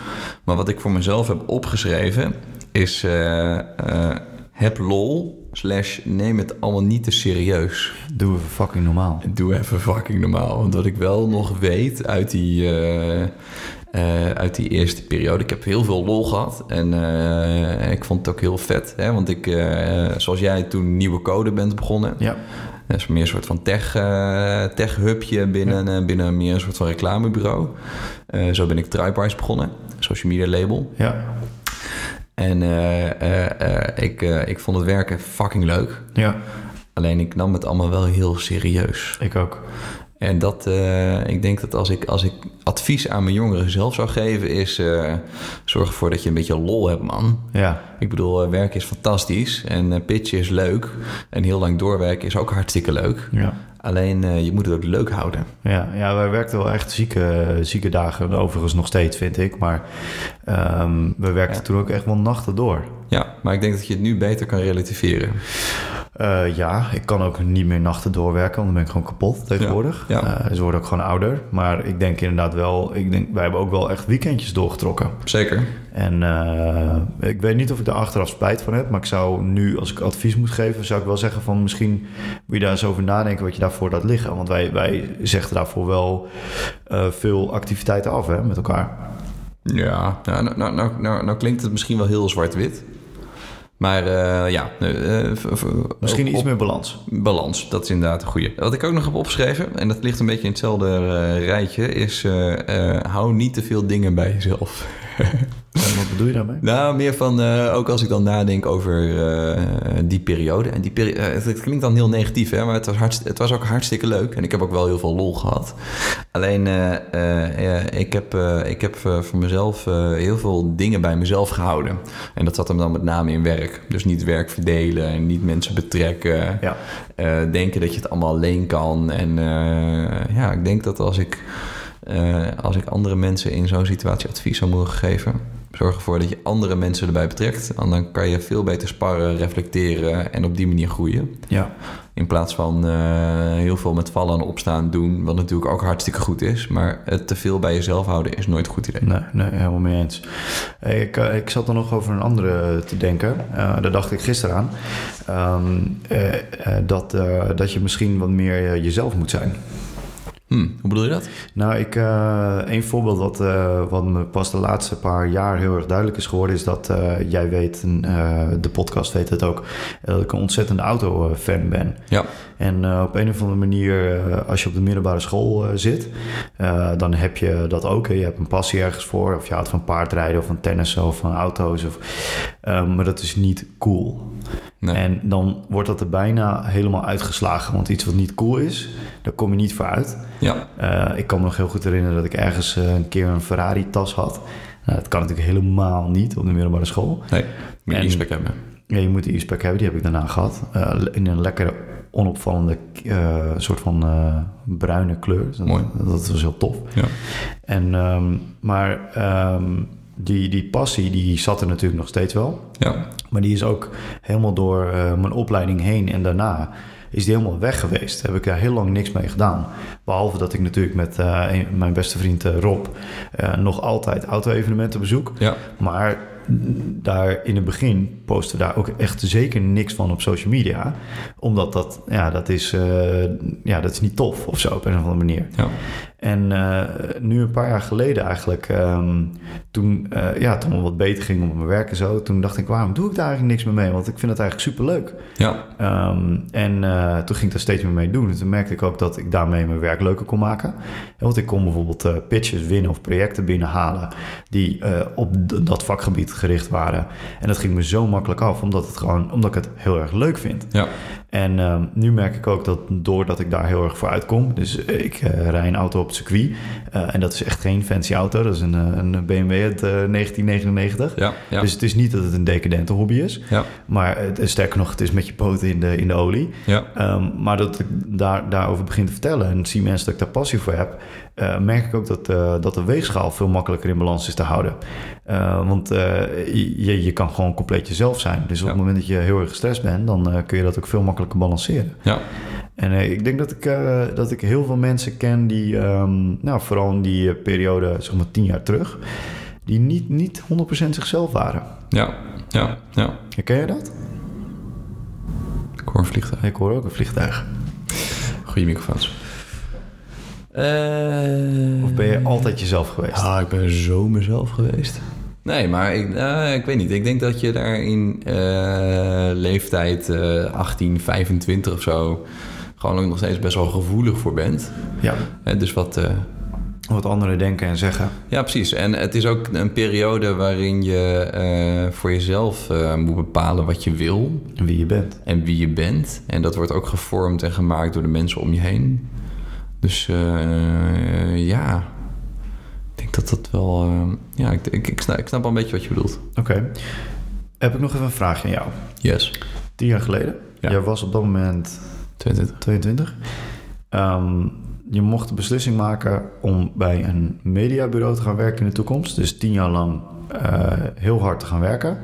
Speaker 2: Maar wat ik voor mezelf heb opgeschreven is: eh, eh, heb lol, slash neem het allemaal niet te serieus.
Speaker 1: Doe even fucking normaal.
Speaker 2: Doe even fucking normaal. Want wat ik wel nog weet uit die, eh, eh, uit die eerste periode. Ik heb heel veel lol gehad. En eh, ik vond het ook heel vet. Hè? Want ik, eh, zoals jij toen nieuwe code bent begonnen.
Speaker 1: Ja.
Speaker 2: Dat is meer een soort van tech, eh, tech-hubje binnen, eh, binnen meer een soort van reclamebureau. Eh, zo ben ik Tripewise begonnen. Social media label.
Speaker 1: Ja.
Speaker 2: En eh, eh, eh, ik, eh, ik vond het werken fucking leuk.
Speaker 1: Ja.
Speaker 2: Alleen ik nam het allemaal wel heel serieus.
Speaker 1: Ik ook.
Speaker 2: En dat, eh, ik denk dat als ik, als ik advies aan mijn jongeren zelf zou geven, is eh, zorg ervoor dat je een beetje lol hebt, man.
Speaker 1: Ja.
Speaker 2: Ik bedoel, eh, werk is fantastisch en eh, pitchen is leuk. En heel lang doorwerken is ook hartstikke leuk.
Speaker 1: Ja.
Speaker 2: Alleen eh, je moet het ook leuk houden.
Speaker 1: Ja, ja, wij werkten wel echt zieke, zieke dagen. Overigens nog steeds, vind ik. Maar ehm, we werkten
Speaker 2: Ja.
Speaker 1: toen ook echt wel nachten door.
Speaker 2: Ja, maar ik denk dat je het nu beter kan relativeren.
Speaker 1: Eh, ja, ik kan ook niet meer nachten doorwerken, want dan ben ik gewoon kapot tegenwoordig.
Speaker 2: Ja, ja.
Speaker 1: Eh, ze worden ook gewoon ouder. Maar ik denk inderdaad wel, ik denk, wij hebben ook wel echt weekendjes doorgetrokken.
Speaker 2: Zeker.
Speaker 1: En eh, ik weet niet of ik daar achteraf spijt van heb, maar ik zou nu, als ik advies moet geven, zou ik wel zeggen van misschien moet je daar eens over nadenken wat je daarvoor laat liggen. Want wij, wij zegden daarvoor wel eh, veel activiteiten af hè, met elkaar.
Speaker 2: Ja, nou, nou, nou, nou, nou, nou klinkt het misschien wel heel zwart-wit. Maar eh, ja, eh, v- v-
Speaker 1: Misschien
Speaker 2: op-
Speaker 1: iets
Speaker 2: op-
Speaker 1: meer balans.
Speaker 2: Balans, dat is inderdaad een goede. Wat ik ook nog heb opgeschreven, en dat ligt een beetje in hetzelfde eh, rijtje, is eh, eh, hou niet te veel dingen bij jezelf.
Speaker 1: En wat bedoel je daarmee?
Speaker 2: Nou, meer van, eh, ook als ik dan nadenk over eh, die periode. En die peri- eh, het, het klinkt dan heel negatief, hè, maar het was, hartst- het was ook hartstikke leuk. En ik heb ook wel heel veel lol gehad. Alleen, eh, eh, eh, ik heb, eh, ik heb eh, voor mezelf eh, heel veel dingen bij mezelf gehouden. En dat zat hem dan met name in werk. Dus niet werk verdelen en niet mensen betrekken.
Speaker 1: Ja.
Speaker 2: Eh, denken dat je het allemaal alleen kan. En eh, ja, ik denk dat als ik, eh, als ik andere mensen in zo'n situatie advies zou mogen geven, zorg ervoor dat je andere mensen erbij betrekt. En dan kan je veel beter sparren, reflecteren en op die manier groeien.
Speaker 1: ja.
Speaker 2: In plaats van eh, heel veel met vallen en opstaan doen, wat natuurlijk ook hartstikke goed is. Maar het te veel bij jezelf houden is nooit een goed idee.
Speaker 1: Nee, nee, helemaal mee eens. Hey, Ik, eh, ik zat er nog over een andere te denken. Eh, daar dacht ik gisteren aan. Ehm, eh, eh, dat, eh, dat je misschien wat meer eh, jezelf moet zijn.
Speaker 2: Hm, hoe bedoel je dat?
Speaker 1: Nou, ik, eh een voorbeeld wat, eh, wat me pas de laatste paar jaar heel erg duidelijk is geworden... is dat eh, jij weet, en, eh, de podcast weet het ook... eh, dat ik een ontzettende auto-fan ben.
Speaker 2: Ja,
Speaker 1: En eh, op een of andere manier, eh, als je op de middelbare school eh, zit, eh, dan heb je dat ook. hè. Je hebt een passie ergens voor, of je houdt van paardrijden, of van tennis, of van auto's. Of, eh, maar dat is niet cool.
Speaker 2: Nee.
Speaker 1: En dan wordt dat er bijna helemaal uitgeslagen. Want iets wat niet cool is, daar kom je niet voor uit.
Speaker 2: ja,
Speaker 1: Eh, ik kan me nog heel goed herinneren dat ik ergens eh, een keer een Ferrari-tas had. Nou, dat kan natuurlijk helemaal niet op de middelbare school.
Speaker 2: nee, moet je
Speaker 1: En-
Speaker 2: respect hebben.
Speaker 1: Ja, je moet de e-spec hebben, die heb ik daarna gehad. Eh, in een lekkere, onopvallende eh, soort van eh, bruine kleur. Dus dat-
Speaker 2: Mooi.
Speaker 1: Dat was heel tof.
Speaker 2: Ja.
Speaker 1: En, ehm, maar ehm, die, die passie die zat er natuurlijk nog steeds wel.
Speaker 2: Ja,
Speaker 1: Maar die is ook helemaal door eh, mijn opleiding heen en daarna is die helemaal weg geweest. Heb ik daar heel lang niks mee gedaan. Behalve dat ik natuurlijk met eh, een- mijn beste vriend eh, Rob eh, nog altijd auto-evenementen bezoek.
Speaker 2: ja,
Speaker 1: Maar daar in het begin posten we daar ook echt zeker niks van op social media. Omdat dat, ja, dat, is, eh, ja, dat is niet tof of zo op een of andere manier.
Speaker 2: ja,
Speaker 1: En eh, nu een paar jaar geleden eigenlijk, ehm, toen eh, ja, het allemaal wat beter ging op mijn werk en zo. Toen dacht ik, waarom doe ik daar eigenlijk niks meer mee? Want ik vind het eigenlijk superleuk.
Speaker 2: ja,
Speaker 1: Ehm, en eh, toen ging ik daar steeds meer mee doen. En toen merkte ik ook dat ik daarmee mijn werk leuker kon maken. En Want ik kon bijvoorbeeld eh, pitches winnen of projecten binnenhalen die eh, op d- dat vakgebied gericht waren. En dat ging me zo makkelijk af, omdat, het gewoon, omdat ik het heel erg leuk vind.
Speaker 2: ja,
Speaker 1: En ehm, nu merk ik ook dat doordat ik daar heel erg voor uitkom. Dus eh, ik eh, rij een auto op het circuit. eh, en dat is echt geen fancy auto. Dat is een, eh, een BMW uit eh, 1999.
Speaker 2: ja, ja.
Speaker 1: Dus het is niet dat het een decadente hobby is.
Speaker 2: Ja,
Speaker 1: Maar eh, het- sterker nog, het is met je poten in de, in de olie.
Speaker 2: ja,
Speaker 1: Ehm, maar dat ik daar, daarover begin te vertellen en zie mensen dat ik daar passie voor heb, eh, merk ik ook dat, eh, dat de weegschaal veel makkelijker in balans is te houden. Eh, want eh, je, je kan gewoon compleet jezelf zijn. Dus op
Speaker 2: Ja.
Speaker 1: het moment dat je heel erg gestrest bent, dan eh, kun je dat ook veel makkelijker balanceren.
Speaker 2: ja,
Speaker 1: En eh, ik denk dat ik, eh, dat ik heel veel mensen ken die, ehm, nou, vooral in die eh, periode, zeg maar tien jaar terug, die niet, niet 100% zichzelf waren.
Speaker 2: ja, ja, ja.
Speaker 1: Herken je dat?
Speaker 2: Ik hoor een vliegtuig.
Speaker 1: Ik hoor ook een vliegtuig.
Speaker 2: Goeie microfoons.
Speaker 1: Of ben je altijd jezelf geweest?
Speaker 2: Ah, ik ben zo mezelf geweest. Nee, maar ik, eh, ik weet niet. Ik denk dat je daar in eh, leeftijd eh 18, 25 of zo... gewoon ook nog steeds best wel gevoelig voor bent.
Speaker 1: Ja,
Speaker 2: Hè, dus wat... eh,
Speaker 1: wat anderen denken en zeggen.
Speaker 2: Ja, precies. En het is ook een periode waarin je eh, voor jezelf eh, moet bepalen wat je wil.
Speaker 1: Wie je bent.
Speaker 2: en wie je bent. En dat wordt ook gevormd en gemaakt door de mensen om je heen. Dus eh, ja, ik denk dat dat wel. eh, ja, ik, ik, ik, snap, ik snap wel een beetje wat je bedoelt.
Speaker 1: Oké. Heb ik nog even een vraag aan jou.
Speaker 2: Yes.
Speaker 1: Tien jaar geleden.
Speaker 2: Ja.
Speaker 1: Jij was op dat moment
Speaker 2: 22.
Speaker 1: 22. Ehm, je mocht de beslissing maken om bij een mediabureau te gaan werken in de toekomst. Dus tien jaar lang eh, heel hard te gaan werken.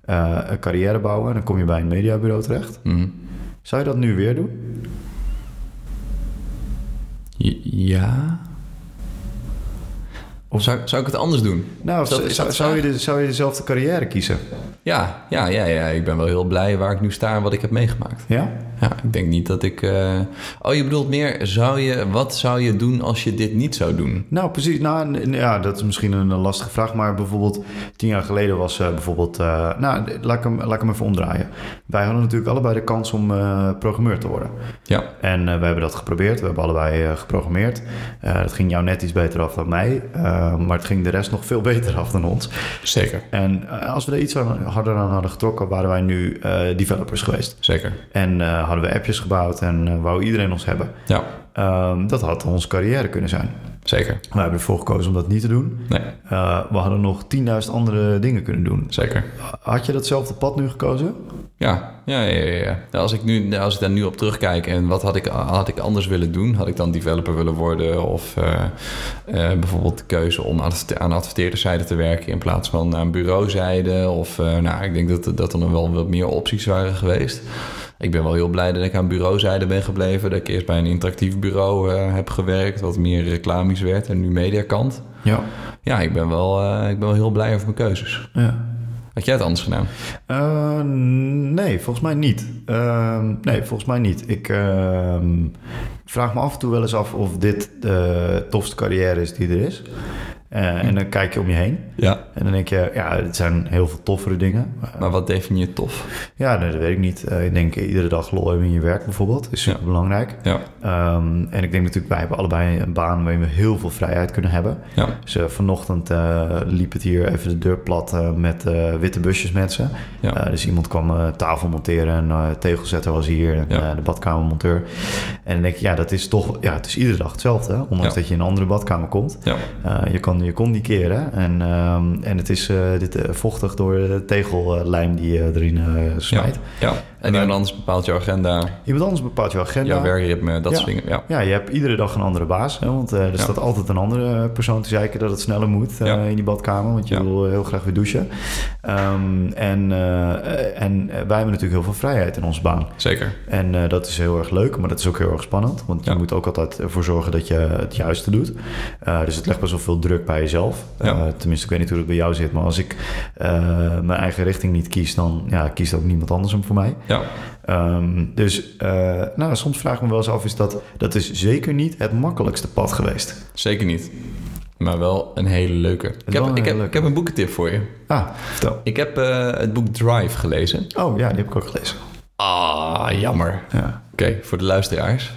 Speaker 1: Eh, een carrière bouwen. Dan kom je bij een mediabureau terecht.
Speaker 2: Mhm.
Speaker 1: Zou je dat nu weer doen?
Speaker 2: J- Ja. Of zou, zou ik het anders doen?
Speaker 1: Nou,
Speaker 2: Is dat-
Speaker 1: zou-
Speaker 2: is dat
Speaker 1: zou,
Speaker 2: de
Speaker 1: zou, je de, zou je dezelfde carrière kiezen?
Speaker 2: Ja, ja, ja, ja. Ik ben wel heel blij waar ik nu sta en wat ik heb meegemaakt.
Speaker 1: Ja?
Speaker 2: ja, ik denk niet dat ik... eh, Oh, je bedoelt meer, zou je, wat zou je doen als je dit niet zou doen?
Speaker 1: Nou, precies. Nou, n- n- ja, dat is misschien een eh, lastige vraag. Maar bijvoorbeeld tien jaar geleden was eh, bijvoorbeeld... eh, nou, d- laat ik, hem, laat ik hem even omdraaien. Wij hadden natuurlijk allebei de kans om eh, programmeur te worden.
Speaker 2: Ja,
Speaker 1: En eh, we hebben dat geprobeerd. We hebben allebei eh, geprogrammeerd. Eh, dat ging jou net iets beter af dan mij. eh, maar het ging de rest nog veel beter af dan ons.
Speaker 2: zeker.
Speaker 1: En eh, als we er iets aan- harder aan hadden getrokken... waren wij nu eh, developers geweest.
Speaker 2: Zeker,
Speaker 1: En eh, hadden we appjes gebouwd en eh, wou iedereen ons hebben.
Speaker 2: ja,
Speaker 1: Ehm, dat had onze carrière kunnen zijn.
Speaker 2: zeker.
Speaker 1: We hebben ervoor gekozen om dat niet te doen.
Speaker 2: Nee,
Speaker 1: Eh, we hadden nog 10.000 andere dingen kunnen doen.
Speaker 2: zeker.
Speaker 1: Had je datzelfde pad nu gekozen?
Speaker 2: Ja, ja, ja, ja, ja. Nou, Als ik, nu, als ik daar nu op terugkijk en wat had ik, had ik anders willen doen? Had ik dan developer willen worden of eh, eh, bijvoorbeeld de keuze om aan de aan de adverteerderszijde te werken in plaats van aan bureauzijde? Of eh, nou, ik denk dat, dat er nog wel wat meer opties waren geweest. Ik ben wel heel blij dat ik aan bureauzijde ben gebleven. Dat ik eerst bij een interactief bureau eh, heb gewerkt, wat meer reclamisch werd en nu mediakant.
Speaker 1: Ja.
Speaker 2: Ja, ik ben wel, eh, ik ben wel heel blij over mijn keuzes.
Speaker 1: ja.
Speaker 2: Had jij het anders gedaan?
Speaker 1: Eh, nee, volgens mij niet. Ehm, nee, volgens mij niet. Ik ehm, vraag me af en toe wel eens af of dit de tofste carrière is die er is. Eh, En dan kijk je om je heen.
Speaker 2: Ja.
Speaker 1: En dan denk je, ja, het zijn heel veel toffere dingen. Eh,
Speaker 2: Maar wat definieert tof?
Speaker 1: ja, nee, dat weet ik niet. Eh, ik denk iedere dag lol hebben in je werk bijvoorbeeld. Is
Speaker 2: Ja.
Speaker 1: super belangrijk.
Speaker 2: Ja,
Speaker 1: en ik denk natuurlijk, wij hebben allebei een baan waarin we heel veel vrijheid kunnen hebben.
Speaker 2: ja.
Speaker 1: Dus eh, vanochtend eh, liep het hier even de deur plat eh, met eh, witte busjes mensen.
Speaker 2: Ja.
Speaker 1: Eh, dus iemand kwam eh, tafel monteren en eh, tegelzetter was hier en
Speaker 2: Ja.
Speaker 1: eh, de badkamermonteur. En dan denk ik, ja, dat is toch, ja, het is iedere dag hetzelfde. hè? Ondanks
Speaker 2: Ja.
Speaker 1: dat je in een andere badkamer komt.
Speaker 2: Ja,
Speaker 1: Eh, je kan je kon niet keren en, ehm, en het is eh, dit, eh, vochtig door de tegellijm die je erin eh, smijt.
Speaker 2: ja.
Speaker 1: Eh,
Speaker 2: En iemand anders bepaalt jouw agenda,
Speaker 1: Iemand anders bepaalt jouw agenda.
Speaker 2: jouw werkritme, dat
Speaker 1: Ja.
Speaker 2: soort dingen. Ja,
Speaker 1: Ja, je hebt iedere dag een andere baas. Hè, want eh, er staat altijd een andere eh, persoon te zeiken dat het sneller moet eh,
Speaker 2: Ja.
Speaker 1: in die badkamer. Want je
Speaker 2: Ja.
Speaker 1: wil eh, heel graag weer douchen. Ehm, en, eh, en wij hebben natuurlijk heel veel vrijheid in onze baan.
Speaker 2: zeker.
Speaker 1: En eh, dat is heel erg leuk, maar dat is ook heel erg spannend. Want je
Speaker 2: Ja.
Speaker 1: moet ook altijd ervoor zorgen dat je het juiste doet. Eh, dus het legt best wel veel druk bij jezelf.
Speaker 2: Ja.
Speaker 1: Eh, tenminste, ik weet niet hoe dat bij jou zit. Maar als ik eh, mijn eigen richting niet kies, dan ja, kiest ook niemand anders hem voor mij.
Speaker 2: Ja,
Speaker 1: Ehm, dus eh, nou, soms vraag ik me wel eens af, is dat, dat is zeker niet het makkelijkste pad geweest.
Speaker 2: zeker niet. Maar wel een hele leuke. Ik
Speaker 1: wel een
Speaker 2: heb, ik
Speaker 1: hele
Speaker 2: heb,
Speaker 1: leuke.
Speaker 2: ik heb een boekentip voor je.
Speaker 1: Ah, vertel.
Speaker 2: Ik heb eh, het boek Drive gelezen.
Speaker 1: Oh ja, die heb ik ook gelezen.
Speaker 2: Ah, jammer.
Speaker 1: Ja.
Speaker 2: Oké, voor de luisteraars.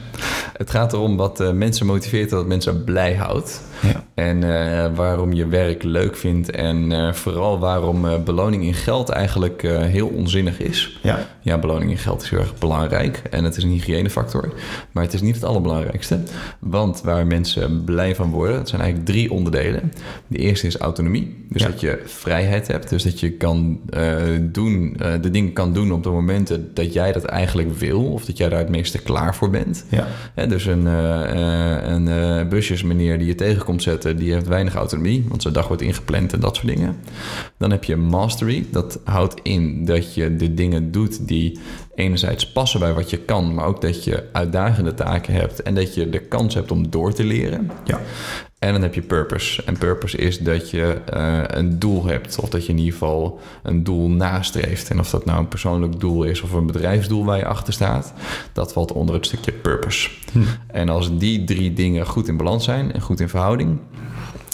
Speaker 2: Het gaat erom wat eh, mensen motiveert en wat mensen blij houdt.
Speaker 1: Ja.
Speaker 2: En eh, waarom je werk leuk vindt. En eh, vooral waarom eh, beloning in geld eigenlijk eh, heel onzinnig is.
Speaker 1: Ja.
Speaker 2: Ja, beloning in geld is heel erg belangrijk en het is een hygiënefactor. Maar het is niet het allerbelangrijkste. Want waar mensen blij van worden, dat zijn eigenlijk drie onderdelen. De eerste is autonomie. Dus
Speaker 1: Ja.
Speaker 2: dat je vrijheid hebt. Dus dat je kan eh, doen, eh, de dingen kan doen op de momenten dat jij dat eigenlijk wil. Of dat jij daar het meeste klaar voor bent.
Speaker 1: Ja.
Speaker 2: Hè, dus een, eh, eh, een eh, busjesmeneer die je tegenkomt zetten, die heeft weinig autonomie, want zijn dag wordt ingepland en dat soort dingen. Dan heb je mastery, dat houdt in dat je de dingen doet die enerzijds passen bij wat je kan, maar ook dat je uitdagende taken hebt en dat je de kans hebt om door te leren.
Speaker 1: Ja.
Speaker 2: En dan heb je purpose. En purpose is dat je eh, een doel hebt. Of dat je in ieder geval een doel nastreeft. En of dat nou een persoonlijk doel is of een bedrijfsdoel waar je achter staat, dat valt onder het stukje purpose.
Speaker 1: Hm.
Speaker 2: En als die drie dingen goed in balans zijn en goed in verhouding,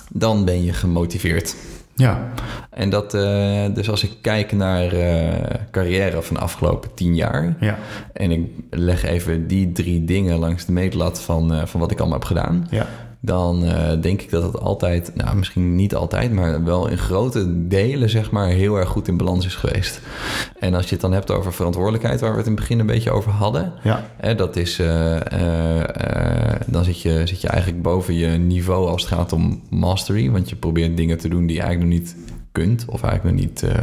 Speaker 2: dan ben je gemotiveerd.
Speaker 1: Ja.
Speaker 2: En dat, eh, dus als ik kijk naar eh, carrière van de afgelopen tien jaar,
Speaker 1: Ja.
Speaker 2: en ik leg even die drie dingen langs de meetlat van, eh, van wat ik allemaal heb gedaan
Speaker 1: Ja.
Speaker 2: dan eh, denk ik dat het altijd, nou misschien niet altijd, maar wel in grote delen zeg maar heel erg goed in balans is geweest. En als je het dan hebt over verantwoordelijkheid, waar we het in het begin een beetje over hadden,
Speaker 1: Ja.
Speaker 2: hè, dat is, eh, eh, eh, dan zit je, zit je eigenlijk boven je niveau als het gaat om mastery, want je probeert dingen te doen die je eigenlijk nog niet kunt of eigenlijk nog niet, eh,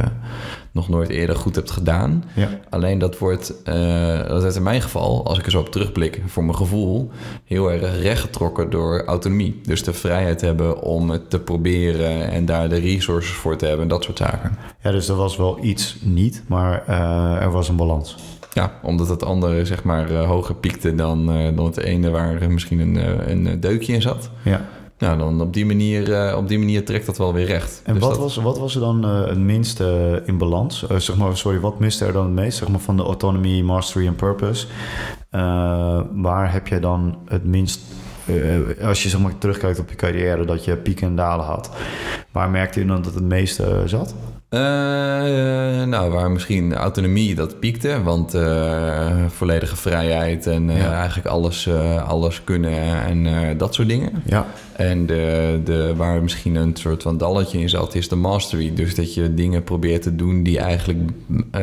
Speaker 2: nog nooit eerder goed hebt gedaan.
Speaker 1: Ja.
Speaker 2: Alleen dat wordt, eh dat werd in mijn geval, als ik er zo op terugblik, voor mijn gevoel heel erg rechtgetrokken door autonomie. Dus de vrijheid hebben om het te proberen en daar de resources voor te hebben en dat soort zaken.
Speaker 1: Ja, dus er was wel iets niet, maar eh, er was een balans.
Speaker 2: Ja, omdat het andere zeg maar eh, hoger piekte dan, eh, dan het ene waar misschien een, eh, een eh, deukje in zat.
Speaker 1: Ja.
Speaker 2: Nou, dan op die manier, eh, op die manier trekt dat wel weer recht.
Speaker 1: En
Speaker 2: Dus
Speaker 1: wat,
Speaker 2: dat-
Speaker 1: was, wat was er dan eh, het minste in balans? Eh, zeg maar, sorry, wat miste er dan het meest zeg maar, van de autonomy, mastery en purpose? Eh, waar heb je dan het minst, eh, als je zeg maar, terugkijkt op je carrière, dat je pieken en dalen had? Waar merkte je dan dat het meeste eh, zat?
Speaker 2: Eh, nou, waar misschien autonomie dat piekte, want eh, volledige vrijheid en eh,
Speaker 1: Ja.
Speaker 2: eigenlijk alles, eh, alles kunnen en eh, dat soort dingen.
Speaker 1: Ja,
Speaker 2: En de, de, waar misschien een soort van dalletje in zat, is de mastery. Dus dat je dingen probeert te doen die eigenlijk eh,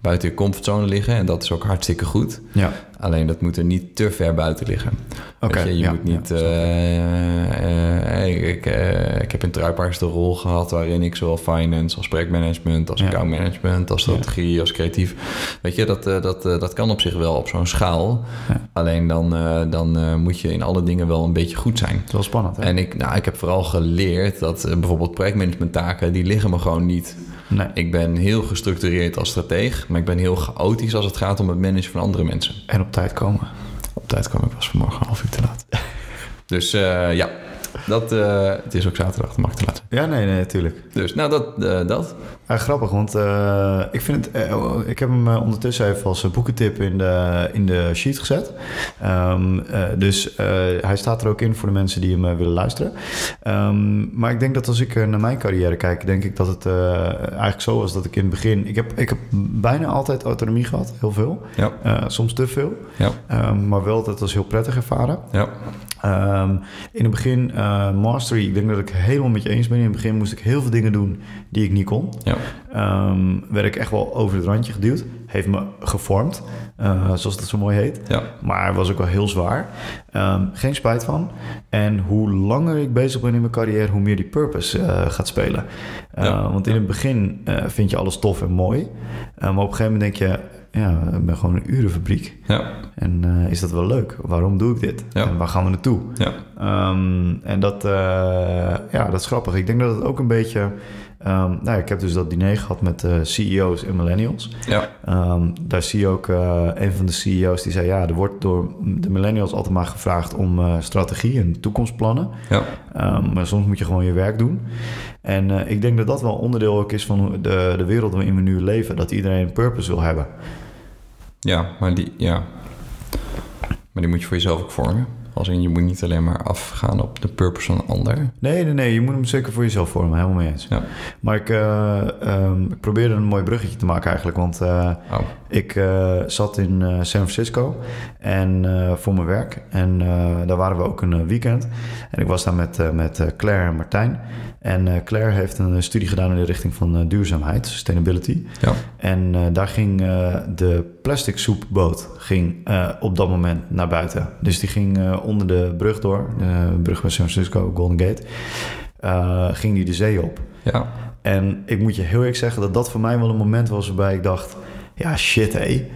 Speaker 2: buiten je comfortzone liggen. En dat is ook hartstikke goed.
Speaker 1: ja.
Speaker 2: Alleen dat moet er niet te ver buiten liggen.
Speaker 1: Oké,
Speaker 2: Weet je, je
Speaker 1: ja,
Speaker 2: moet
Speaker 1: ja,
Speaker 2: niet. eh, eh, ik, eh, ik heb in Truipaars de rol gehad waarin ik zowel finance als projectmanagement, als
Speaker 1: Ja.
Speaker 2: accountmanagement, als strategie, als creatief. Weet je, dat, eh, dat, eh, dat kan op zich wel op zo'n schaal.
Speaker 1: Ja.
Speaker 2: Alleen dan, eh, dan eh, moet je in alle dingen wel een beetje goed zijn.
Speaker 1: Het is wel spannend, hè?
Speaker 2: En ik, nou, ik heb vooral geleerd dat eh, bijvoorbeeld projectmanagementtaken, die liggen me gewoon niet.
Speaker 1: Nee.
Speaker 2: Ik ben heel gestructureerd als strateeg, maar ik ben heel chaotisch als het gaat om het managen van andere mensen.
Speaker 1: En op tijd komen.
Speaker 2: Op tijd kwam ik pas vanmorgen een half uur te laat. Dus eh, ja, dat, eh, het is ook zaterdag, dat mag ik te laat.
Speaker 1: Ja, nee, nee, natuurlijk.
Speaker 2: Dus nou, dat. eh, dat.
Speaker 1: Ja, grappig, want eh, ik, vind het, eh, oh, ik heb hem eh, ondertussen even als eh, boekentip in de, in de sheet gezet. Ehm, eh, dus eh, hij staat er ook in voor de mensen die hem eh, willen luisteren. Ehm, maar ik denk dat als ik eh, naar mijn carrière kijk, denk ik dat het eh, eigenlijk zo was dat ik in het begin... Ik heb, ik heb bijna altijd autonomie gehad, heel veel.
Speaker 2: Ja,
Speaker 1: Eh, soms te veel,
Speaker 2: ja,
Speaker 1: Ehm, maar wel dat was heel prettig ervaren.
Speaker 2: ja,
Speaker 1: Ehm, in het begin eh, mastery, ik denk dat ik helemaal met je eens ben. In het begin moest ik heel veel dingen doen die ik niet kon.
Speaker 2: ja,
Speaker 1: Ehm, werd ik echt wel over het randje geduwd. Heeft me gevormd, eh, zoals dat zo mooi heet.
Speaker 2: ja,
Speaker 1: Maar was ook wel heel zwaar. Ehm, geen spijt van. En hoe langer ik bezig ben in mijn carrière, hoe meer die purpose eh, gaat spelen. Eh,
Speaker 2: Ja.
Speaker 1: Want in het begin eh, vind je alles tof en mooi. Eh, maar op een gegeven moment denk je, ja, ik ben gewoon een urenfabriek.
Speaker 2: ja,
Speaker 1: En eh, is dat wel leuk? Waarom doe ik dit?
Speaker 2: Ja.
Speaker 1: En waar gaan we naartoe?
Speaker 2: ja,
Speaker 1: Ehm, en dat, eh, ja, dat is grappig. Ik denk dat het ook een beetje. ehm, nou, ja, ik heb dus dat diner gehad met eh, CEO's en millennials.
Speaker 2: ja,
Speaker 1: Ehm, daar zie je ook eh, een van de CEO's die zei: Ja, er wordt door de millennials altijd maar gevraagd om eh, strategie en toekomstplannen.
Speaker 2: ja,
Speaker 1: Ehm, maar soms moet je gewoon je werk doen. En eh, ik denk dat dat wel onderdeel ook is van hoe de, de wereld waarin we nu leven: dat iedereen een purpose wil hebben.
Speaker 2: ja, maar die, ja. Maar die moet je voor jezelf ook vormen. Als in, je moet niet alleen maar afgaan op de purpose van een ander.
Speaker 1: Nee, nee, nee. Je moet hem zeker voor jezelf vormen. Helemaal mee eens.
Speaker 2: Ja.
Speaker 1: Maar ik, eh, ehm, ik probeerde een mooi bruggetje te maken eigenlijk. Want eh,
Speaker 2: Oh,
Speaker 1: ik eh, zat in eh, San Francisco en, eh, voor mijn werk. En eh, daar waren we ook een eh, weekend. En ik was daar met, eh, met eh, Claire en Martijn. En eh, Claire heeft een eh, studie gedaan in de richting van eh, duurzaamheid, sustainability.
Speaker 2: ja,
Speaker 1: En eh, daar ging eh, de plastic soepboot ging, eh, op dat moment naar buiten. Dus die ging eh, onder de brug door, de brug bij San Francisco, Golden Gate. eh, ging die de zee op.
Speaker 2: ja,
Speaker 1: En ik moet je heel eerlijk zeggen dat dat voor mij wel een moment was waarbij ik dacht: ja, shit hé,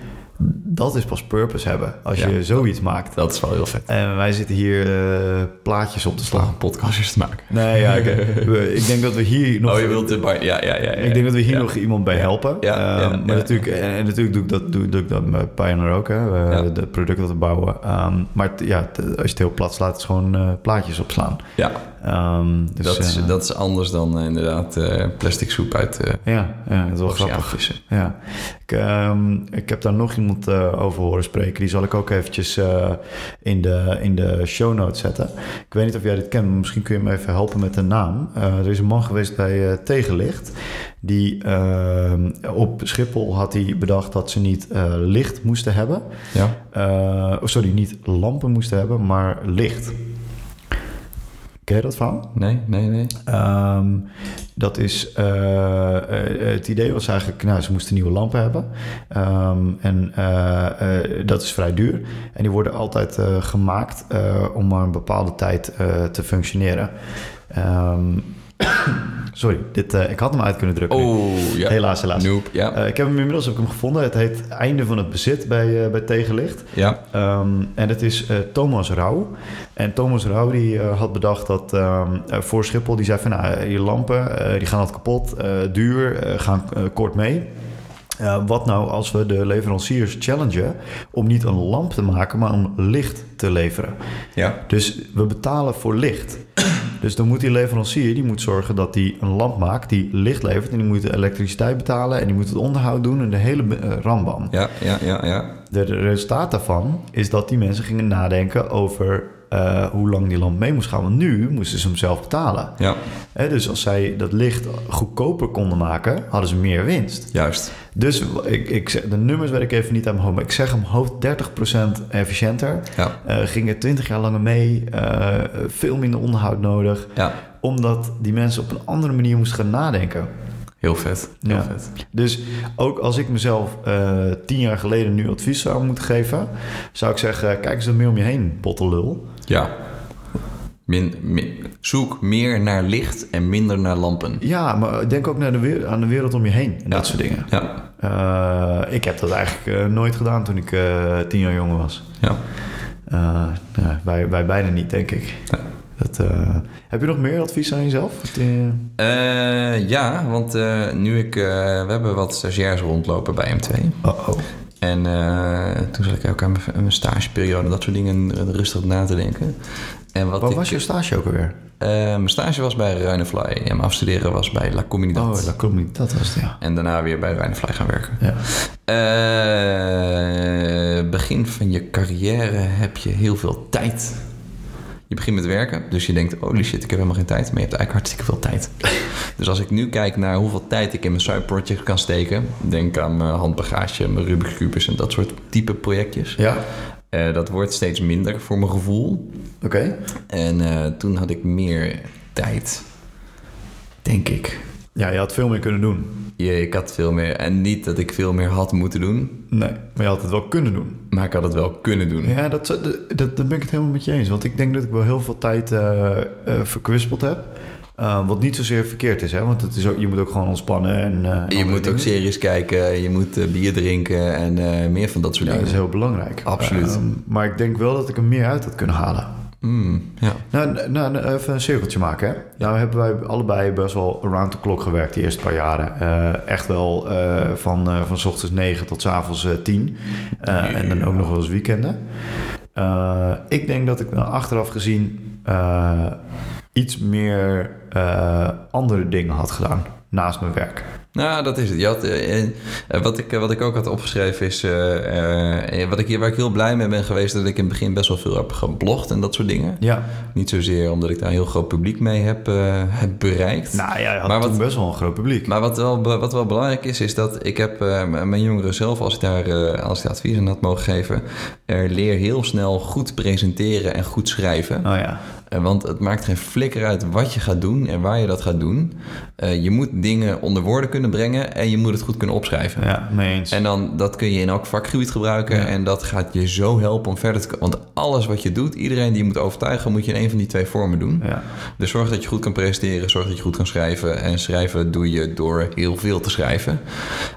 Speaker 1: dat is pas purpose hebben als
Speaker 2: Ja,
Speaker 1: je zoiets maakt.
Speaker 2: dat is wel heel vet.
Speaker 1: En wij zitten hier eh, plaatjes op te
Speaker 2: Slag
Speaker 1: slaan.
Speaker 2: een podcastjes te maken.
Speaker 1: Nee, ja, ik, we- ik denk dat we hier nog.
Speaker 2: Oh, je wilt de bar. Ja, ja, ja. ja.
Speaker 1: Ik denk dat we hier
Speaker 2: Ja.
Speaker 1: nog iemand bij helpen.
Speaker 2: Ja, ja,
Speaker 1: Ehm,
Speaker 2: ja.
Speaker 1: maar Natuurlijk, en, en natuurlijk doe ik dat, doe, doe ik dat met Pioneer ook, hè. We,
Speaker 2: Ja.
Speaker 1: de producten te bouwen. Ehm, maar het- ja, het- als je het heel plat slaat, is het gewoon eh, plaatjes opslaan.
Speaker 2: Ja,
Speaker 1: Ehm, dus,
Speaker 2: dat, is,
Speaker 1: eh,
Speaker 2: dat is anders dan eh, inderdaad eh, plastic soep uit eh
Speaker 1: Ja, ja, dat is wel grappig.
Speaker 2: oceaanvissen.
Speaker 1: Ja, ik, ehm, ik heb daar nog iemand eh, over horen spreken. Die zal ik ook eventjes eh, in, de, in de show notes zetten. Ik weet niet of jij dit kent, maar misschien kun je me even helpen met een naam. Eh, er is een man geweest bij eh, Tegenlicht. Die ehm, op Schiphol had hij bedacht dat ze niet eh, licht moesten hebben.
Speaker 2: Ja.
Speaker 1: Eh, oh, sorry, niet lampen moesten hebben, maar licht. Ken je dat verhaal?
Speaker 2: Nee, nee, nee.
Speaker 1: Ehm, dat is, eh, eh, het idee was eigenlijk, nou, ze moesten nieuwe lampen hebben. Ehm, en eh, eh, dat is vrij duur. En die worden altijd eh, gemaakt eh, om maar een bepaalde tijd eh, te functioneren. Ehm, sorry, dit, eh, ik had hem uit kunnen drukken. nu.
Speaker 2: Oh, ja.
Speaker 1: Helaas, helaas.
Speaker 2: Noep, ja.
Speaker 1: Eh, ik heb hem inmiddels heb ik hem gevonden. Het heet Einde van het bezit bij, eh, bij Tegenlicht.
Speaker 2: ja.
Speaker 1: Ehm, en dat is eh, Thomas Rauw. En Thomas Rauw die, eh, had bedacht dat ehm, eh, voor Schiphol, die zei van nou, eh, je lampen eh, die gaan altijd kapot, eh, duur, eh, gaan eh, kort mee. Eh, wat nou als we de leveranciers challengen om niet een lamp te maken, maar om licht te leveren?
Speaker 2: Ja.
Speaker 1: Dus we betalen voor licht. Dus dan moet die leverancier die moet zorgen dat hij een lamp maakt die licht levert. En die moet de elektriciteit betalen en die moet het onderhoud doen en de hele eh, rambam.
Speaker 2: Ja, ja, ja, ja.
Speaker 1: De resultaat daarvan is dat die mensen gingen nadenken over eh, hoe lang die lamp mee moest gaan. Want nu moesten ze hem zelf betalen.
Speaker 2: Ja,
Speaker 1: Hè, dus als zij dat licht goedkoper konden maken, hadden ze meer winst.
Speaker 2: juist.
Speaker 1: Dus ik, ik, zeg- de nummers weet ik even niet aan mijn hoofd, maar ik zeg hem hoofd 30% efficiënter.
Speaker 2: Ja.
Speaker 1: Eh, gingen 20 jaar langer mee, eh, veel minder onderhoud nodig.
Speaker 2: Ja,
Speaker 1: Omdat die mensen op een andere manier moesten gaan nadenken.
Speaker 2: heel vet. Heel
Speaker 1: Ja.
Speaker 2: vet.
Speaker 1: Dus ook als ik mezelf eh, tien jaar geleden nu advies zou moeten geven, zou ik zeggen: kijk eens wat meer om je heen, bottelul.
Speaker 2: Ja. Min, min- zoek meer naar licht en minder naar lampen.
Speaker 1: Ja, maar denk ook naar de weer- aan de wereld om je heen en dat soort dingen.
Speaker 2: Ja,
Speaker 1: Eh, ik heb dat eigenlijk eh, nooit gedaan toen ik eh, tien jaar jonger was.
Speaker 2: ja.
Speaker 1: Eh, nou, wij, wij beiden niet, denk ik.
Speaker 2: Nee.
Speaker 1: Dat, eh, heb je nog meer advies aan jezelf? Het, eh,
Speaker 2: Eh, ja, want eh, nu ik... eh, we hebben wat stagiairs rondlopen bij M2.
Speaker 1: oh, oh.
Speaker 2: En eh, toen zat ik ook aan mijn, aan mijn stageperiode... dat soort dingen rustig na te denken. En wat,
Speaker 1: Wat
Speaker 2: ik,
Speaker 1: was je stage ook alweer?
Speaker 2: eh, mijn stage was bij Ruinefly. En mijn afstuderen was bij La Comunidad.
Speaker 1: Oh, dat komt niet. Dat was het, ja.
Speaker 2: En daarna weer bij Ruinefly gaan werken.
Speaker 1: ja.
Speaker 2: Eh, begin van je carrière heb je heel veel tijd. Je begint met werken, dus je denkt, holy shit, ik heb helemaal geen tijd. Maar je hebt eigenlijk hartstikke veel tijd. dus als ik nu kijk naar hoeveel tijd ik in mijn side project kan steken. Denk aan mijn handbagage, mijn Rubik's Cubus en dat soort type projectjes.
Speaker 1: Ja,
Speaker 2: Eh, dat wordt steeds minder voor mijn gevoel.
Speaker 1: oké.
Speaker 2: En eh, toen had ik meer tijd, denk ik.
Speaker 1: Ja, je had veel meer kunnen doen.
Speaker 2: Ja, ik had veel meer. En niet dat ik veel meer had moeten doen,
Speaker 1: Nee, maar je had het wel kunnen doen.
Speaker 2: maar ik had het wel kunnen doen.
Speaker 1: Ja, dat, dat, dat ben ik het helemaal met je eens. Want ik denk dat ik wel heel veel tijd eh, eh, verkwispeld heb. Eh, wat niet zozeer verkeerd is, hè? want het is ook, je moet ook gewoon ontspannen. En, eh, en
Speaker 2: Je
Speaker 1: andere
Speaker 2: moet ook
Speaker 1: dingen.
Speaker 2: series kijken, je moet eh, bier drinken en eh, meer van dat soort
Speaker 1: Ja, dus- dat
Speaker 2: dingen.
Speaker 1: is heel belangrijk.
Speaker 2: Absoluut.
Speaker 1: Ehm, maar ik denk wel dat ik er meer uit had kunnen halen.
Speaker 2: Mm, ja.
Speaker 1: Nou, nou, even een cirkeltje maken. Hè? Nou hebben wij allebei best wel around the clock gewerkt de eerste paar jaren. Eh, echt wel eh, van, eh, van 's ochtends 9 tot 's avonds eh, 10. Eh, En dan ook nog wel eens weekenden. Eh, ik denk dat ik nou achteraf gezien eh, iets meer eh, andere dingen had gedaan naast mijn werk.
Speaker 2: Nou, dat is het. Je had, eh, eh, eh, wat, ik, eh, wat ik ook had opgeschreven is... eh, eh, wat ik, hier- waar ik heel blij mee ben geweest... dat ik in het begin best wel veel heb geblogd en dat soort dingen.
Speaker 1: Ja.
Speaker 2: Niet zozeer omdat ik daar een heel groot publiek mee heb, eh, heb bereikt.
Speaker 1: Nou ja, je had
Speaker 2: Maar
Speaker 1: toen
Speaker 2: wat-
Speaker 1: best wel een groot publiek.
Speaker 2: Maar wat wel, be- wat wel belangrijk is, is dat ik heb eh, m- mijn jongeren zelf, als ik daar eh, als ik daar advies aan had mogen geven, eh, leer heel snel goed presenteren en goed schrijven.
Speaker 1: Nou ja.
Speaker 2: Eh, Want het maakt geen flikker uit wat je gaat doen en waar je dat gaat doen. Eh, je moet dingen onder woorden kunnen brengen en je moet het goed kunnen opschrijven.
Speaker 1: ja, mee eens.
Speaker 2: En dan, dat kun je in elk vakgebied gebruiken. En dat gaat je zo helpen om verder te komen. Want alles wat je doet, iedereen die je moet overtuigen, moet je in een van die twee vormen doen.
Speaker 1: Ja.
Speaker 2: Dus zorg dat je goed kan presenteren, zorg dat je goed kan schrijven. En schrijven doe je door heel veel te schrijven.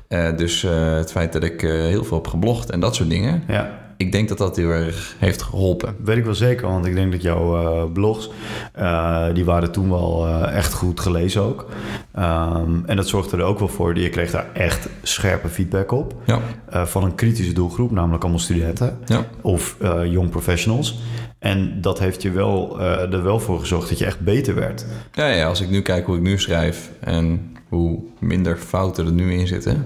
Speaker 2: Eh, dus eh, het feit dat ik eh, heel veel heb geblogd en dat soort dingen.
Speaker 1: ja.
Speaker 2: Ik denk dat dat heel erg heeft geholpen.
Speaker 1: Weet ik wel zeker, want ik denk dat jouw eh, blogs, eh, die waren toen wel eh, echt goed gelezen ook. Ehm, en dat zorgde er ook wel voor, je kreeg daar echt scherpe feedback op.
Speaker 2: Ja,
Speaker 1: eh, van een kritische doelgroep, namelijk allemaal studenten
Speaker 2: ja.
Speaker 1: of eh, young professionals. En dat heeft je wel, eh, er wel voor gezorgd dat je echt beter werd.
Speaker 2: Ja, ja, als ik nu kijk hoe ik nu schrijf en hoe minder fouten er nu in zitten,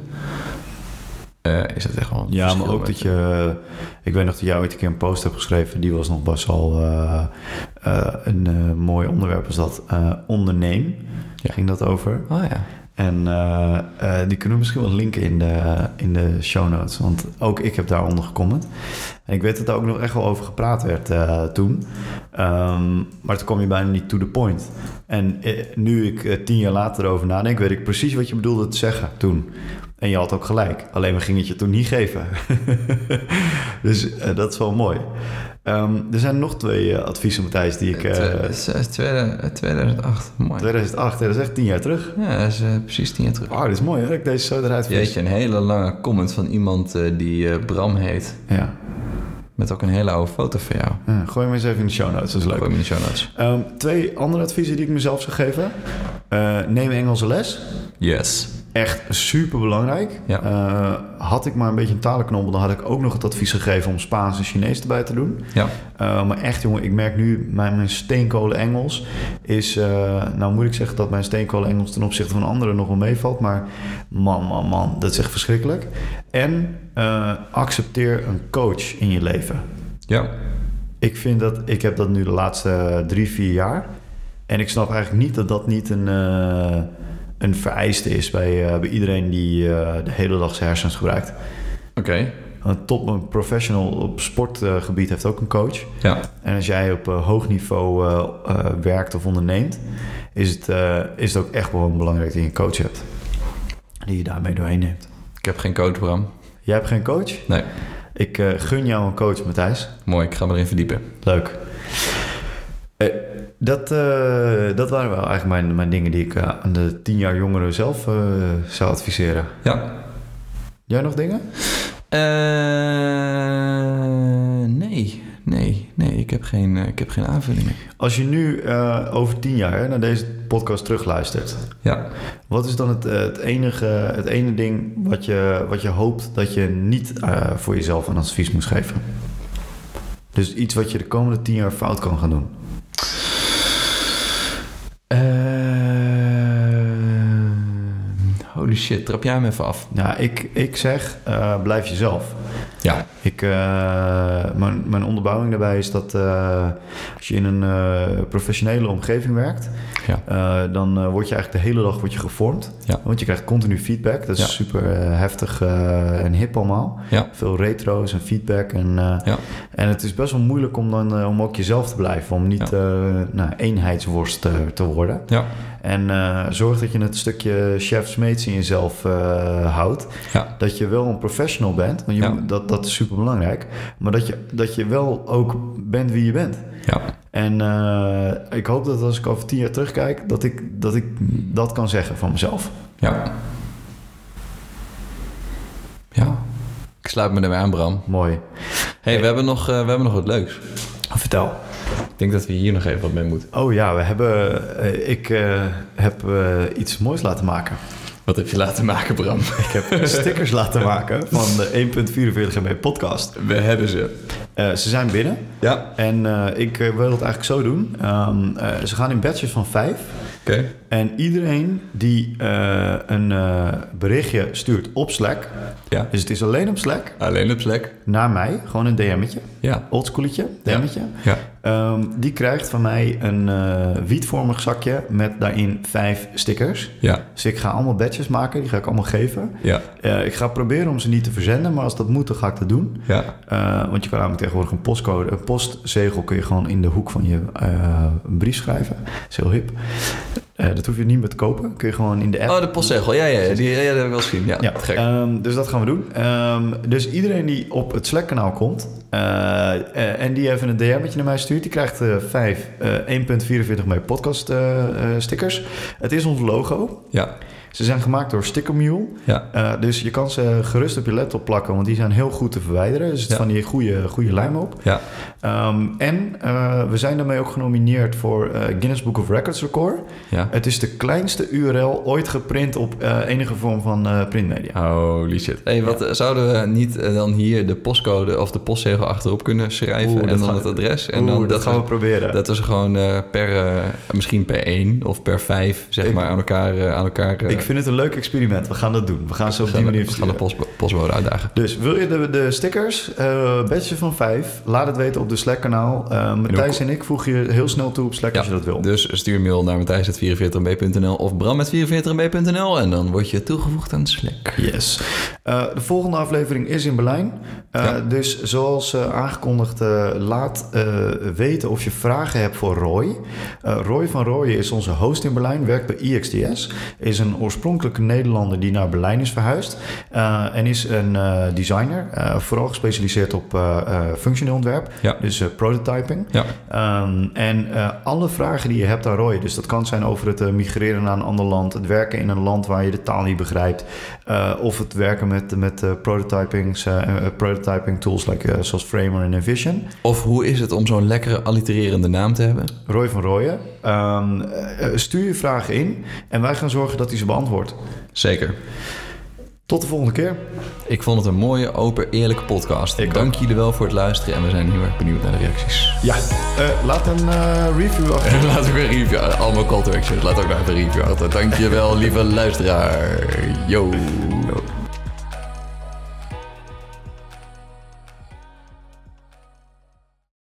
Speaker 2: eh, is dat echt wel. een
Speaker 1: Ja, maar
Speaker 2: verschil
Speaker 1: ook
Speaker 2: met-
Speaker 1: Dus dat je... Ik weet nog dat jij ooit een keer een post hebt geschreven. Die was nog best wel eh, eh, een eh, mooi onderwerp. Was dat eh onderneem?
Speaker 2: Ja.
Speaker 1: Ging dat over?
Speaker 2: Ah ja.
Speaker 1: En eh, eh, die kunnen we misschien wel linken in de, in de show notes. Want ook ik heb daaronder gecomment. En ik weet dat daar ook nog echt wel over gepraat werd eh, toen. Ehm, maar toen kwam je bijna niet to the point. En eh, nu ik eh, tien jaar later erover nadenk, weet ik precies wat je bedoelde te zeggen toen. En je had ook gelijk. Alleen we gingen het je toen niet geven. dus eh, dat is wel mooi. Ehm, er zijn nog twee eh, adviezen, Matthijs, die ik... eh,
Speaker 2: Twe- z- eh, tweede- eh, 2008, mooi.
Speaker 1: 2008, hè, dat is echt tien jaar terug.
Speaker 2: Ja, dat is eh, precies tien jaar terug.
Speaker 1: Oh, dit is mooi hè, dat ik deze zo eruit vis.
Speaker 2: Jeetje, een hele lange comment van iemand eh, die eh, Bram heet.
Speaker 1: Ja.
Speaker 2: Met ook een hele oude foto van jou.
Speaker 1: Ja, Ah, gooi hem eens even in de show notes, dat is
Speaker 2: Gooi
Speaker 1: leuk.
Speaker 2: hem in de show notes.
Speaker 1: Ehm, twee andere adviezen die ik mezelf zou geven. Eh, neem Engelse les.
Speaker 2: Yes.
Speaker 1: echt super belangrijk.
Speaker 2: Ja.
Speaker 1: had ik maar een beetje een talenknobbel, dan had ik ook nog het advies gegeven om Spaans en Chinees erbij te doen.
Speaker 2: Ja.
Speaker 1: Eh, maar echt, jongen, ik merk nu, mijn, mijn steenkolen Engels is... eh, nou moet ik zeggen dat mijn steenkolen Engels ten opzichte van anderen nog wel meevalt. Maar man, man, man, dat is echt verschrikkelijk. En eh, accepteer een coach in je leven.
Speaker 2: Ja.
Speaker 1: Ik vind dat, ik heb dat nu de laatste eh, drie, vier jaar. En ik snap eigenlijk niet dat dat niet een, eh, een vereiste is bij, eh, bij iedereen die eh, de hele dag zijn hersens gebruikt.
Speaker 2: Oké.
Speaker 1: Een top een professional op sportgebied heeft ook een coach.
Speaker 2: Ja.
Speaker 1: En als jij op eh, hoog niveau eh, eh, werkt of onderneemt, is het, eh, is het ook echt wel belangrijk dat je een coach hebt. Die je daarmee doorheen neemt.
Speaker 2: Ik heb geen code, Bram.
Speaker 1: Jij hebt geen coach?
Speaker 2: Nee.
Speaker 1: Ik eh, gun jou een coach, Matthijs.
Speaker 2: Mooi, ik ga me erin verdiepen.
Speaker 1: Leuk. Eh, dat, eh, dat waren wel eigenlijk mijn, mijn dingen die ik eh, aan de tien jaar jongeren zelf eh, zou adviseren.
Speaker 2: Ja.
Speaker 1: Jij nog dingen?
Speaker 2: Eh, nee. Nee. Nee, ik heb geen, eh, ik heb geen aanvullingen.
Speaker 1: Als je nu eh, over tien jaar hè, naar deze podcast terugluistert,
Speaker 2: Ja.
Speaker 1: wat is dan het, eh, het, enige, het ene ding wat je, wat je hoopt dat je niet eh, voor jezelf een advies moest geven? Dus iets wat je de komende tien jaar fout kan gaan doen.
Speaker 2: Eh, holy shit, trap jij hem even af.
Speaker 1: Nou, ik, ik zeg, eh, blijf jezelf.
Speaker 2: Ja.
Speaker 1: Ik, eh, mijn, mijn onderbouwing daarbij is dat eh, als je in een eh, professionele omgeving werkt,
Speaker 2: Ja.
Speaker 1: eh, dan eh, word je eigenlijk de hele dag word je gevormd.
Speaker 2: Ja.
Speaker 1: Want je krijgt continu feedback. Dat is
Speaker 2: Ja.
Speaker 1: super eh, heftig eh, en hip allemaal.
Speaker 2: Ja.
Speaker 1: Veel retro's en feedback. En, eh,
Speaker 2: Ja.
Speaker 1: en het is best wel moeilijk om dan eh, om ook jezelf te blijven. Om niet eh, nou, eenheidsworst eh, te worden.
Speaker 2: Ja.
Speaker 1: En eh, zorg dat je het stukje chef-smeets in jezelf eh, houdt
Speaker 2: Ja.
Speaker 1: dat je wel een professional bent. Want je,
Speaker 2: Ja.
Speaker 1: moet- dat, dat is super belangrijk. Maar dat je, dat je wel ook bent wie je bent.
Speaker 2: Ja.
Speaker 1: En eh, ik hoop dat als ik over tien jaar terugkijk, dat ik dat, ik dat kan zeggen van mezelf.
Speaker 2: Ja. Ja. Ik sluit me erbij aan, Bram.
Speaker 1: Mooi.
Speaker 2: hey, we, hebben nog, eh, we hebben nog wat leuks.
Speaker 1: Vertel.
Speaker 2: Ik denk dat we hier nog even wat mee moeten.
Speaker 1: Oh ja, we hebben, eh, ik eh, heb eh, iets moois laten maken.
Speaker 2: Wat heb je laten maken, Bram?
Speaker 1: Ik heb stickers laten maken van de 1.44 MB podcast.
Speaker 2: We hebben ze.
Speaker 1: Eh, ze zijn binnen.
Speaker 2: Ja.
Speaker 1: En eh, ik eh, wil het eigenlijk zo doen. Ehm, eh, ze gaan in batches van vijf.
Speaker 2: Oké.
Speaker 1: En iedereen die eh, een eh, berichtje stuurt op Slack,
Speaker 2: Ja.
Speaker 1: dus het is alleen op Slack,
Speaker 2: Alleen op plek.
Speaker 1: naar mij, gewoon een DM'tje,
Speaker 2: Ja.
Speaker 1: oldschooletje, DM'tje,
Speaker 2: Ja.
Speaker 1: ehm, die krijgt van mij een eh, wietvormig zakje met daarin vijf stickers.
Speaker 2: Ja.
Speaker 1: Dus ik ga allemaal badges maken, die ga ik allemaal geven.
Speaker 2: Ja.
Speaker 1: Eh, ik ga proberen om ze niet te verzenden, maar als dat moet, dan ga ik dat doen.
Speaker 2: Ja.
Speaker 1: Eh, want je kan namelijk tegenwoordig een postcode, een postzegel kun je gewoon in de hoek van je eh, een brief schrijven. Dat is heel hip. Eh, dat hoef je niet meer te kopen. Kun je gewoon in de app.
Speaker 2: Oh, de postzegel. Ja, ja, ja. Die, ja, dat heb ik wel eens gezien. Ja,
Speaker 1: ja,
Speaker 2: gek.
Speaker 1: ehm, dus dat gaan we doen. Ehm, dus iedereen die op het Slack-kanaal komt eh, eh, en die even een DM'tje naar mij stuurt, die krijgt eh vijf eh 1.44 mee podcast eh, eh, stickers. Het is ons logo.
Speaker 2: Ja.
Speaker 1: Ze zijn gemaakt door Sticker Mule.
Speaker 2: Ja.
Speaker 1: Eh, dus je kan ze gerust op je laptop plakken, want die zijn heel goed te verwijderen. Dus het
Speaker 2: Ja.
Speaker 1: van die goede, goede lijm op.
Speaker 2: Ja.
Speaker 1: Ehm, en eh, we zijn daarmee ook genomineerd voor eh, Guinness Book of Records record.
Speaker 2: Ja.
Speaker 1: Het is de kleinste URL ooit geprint op eh, enige vorm van eh, printmedia.
Speaker 2: Holy shit. Hey, wat eh, zouden we niet eh, dan hier de postcode of de postzegel achterop kunnen schrijven
Speaker 1: Oeh, dat
Speaker 2: en dan
Speaker 1: gaan-
Speaker 2: het adres? En
Speaker 1: Oeh,
Speaker 2: dan
Speaker 1: dat, gaan we proberen.
Speaker 2: Dat is gewoon eh, per, eh, misschien per één of per vijf, zeg
Speaker 1: Ik-
Speaker 2: maar, aan elkaar. eh, aan elkaar eh,
Speaker 1: Ik vind het een leuk experiment. We gaan dat doen. We gaan ze op
Speaker 2: we
Speaker 1: die
Speaker 2: gaan de-
Speaker 1: manier
Speaker 2: we gaan de
Speaker 1: versturen.
Speaker 2: post, postbode uitdagen.
Speaker 1: Dus wil je de, de stickers, eh badge van 5, laat het weten op de Slack-kanaal. Eh, Matthijs en ik voegen je heel snel toe op Slack als je dat wil.
Speaker 2: Dus stuur een mail naar matthijs.44mb.nl of bram.44mb.nl en dan word je toegevoegd aan Slack.
Speaker 1: Yes. Eh, de volgende aflevering is in Berlijn. Eh,
Speaker 2: Ja.
Speaker 1: Dus zoals eh, aangekondigd, eh, laat eh, weten of je vragen hebt voor Roy. Eh, Roy van Rooyen is onze host in Berlijn, werkt bij IXDS. Is een oorspronkelijke Nederlander die naar Berlijn is verhuisd. Eh, en is een eh, designer, eh, vooral gespecialiseerd op eh, eh, functioneel ontwerp.
Speaker 2: Ja.
Speaker 1: Dus eh, prototyping.
Speaker 2: Ja,
Speaker 1: Ehm, en eh, alle vragen die je hebt aan Roy, dus dat kan zijn over het eh, migreren naar een ander land, het werken in een land waar je de taal niet begrijpt, eh, of het werken met, met eh, prototypings, eh, eh, prototyping tools like, eh, zoals Framer en Envision.
Speaker 2: of hoe is het om zo'n lekkere allitererende naam te hebben?
Speaker 1: Roy van Rooyen, ehm, eh, stuur je vragen in en wij gaan zorgen dat hij ze antwoord.
Speaker 2: Zeker.
Speaker 1: Tot de volgende keer.
Speaker 2: Ik vond het een mooie, open, eerlijke podcast.
Speaker 1: Ik ook.
Speaker 2: Dank jullie wel voor het luisteren en we zijn heel erg benieuwd naar de reacties.
Speaker 1: Ja, eh, laat een eh, review achter.
Speaker 2: En laat ook een review, allemaal call to action. Laat ook nog even een review achter. Dankjewel, lieve luisteraar. Yo.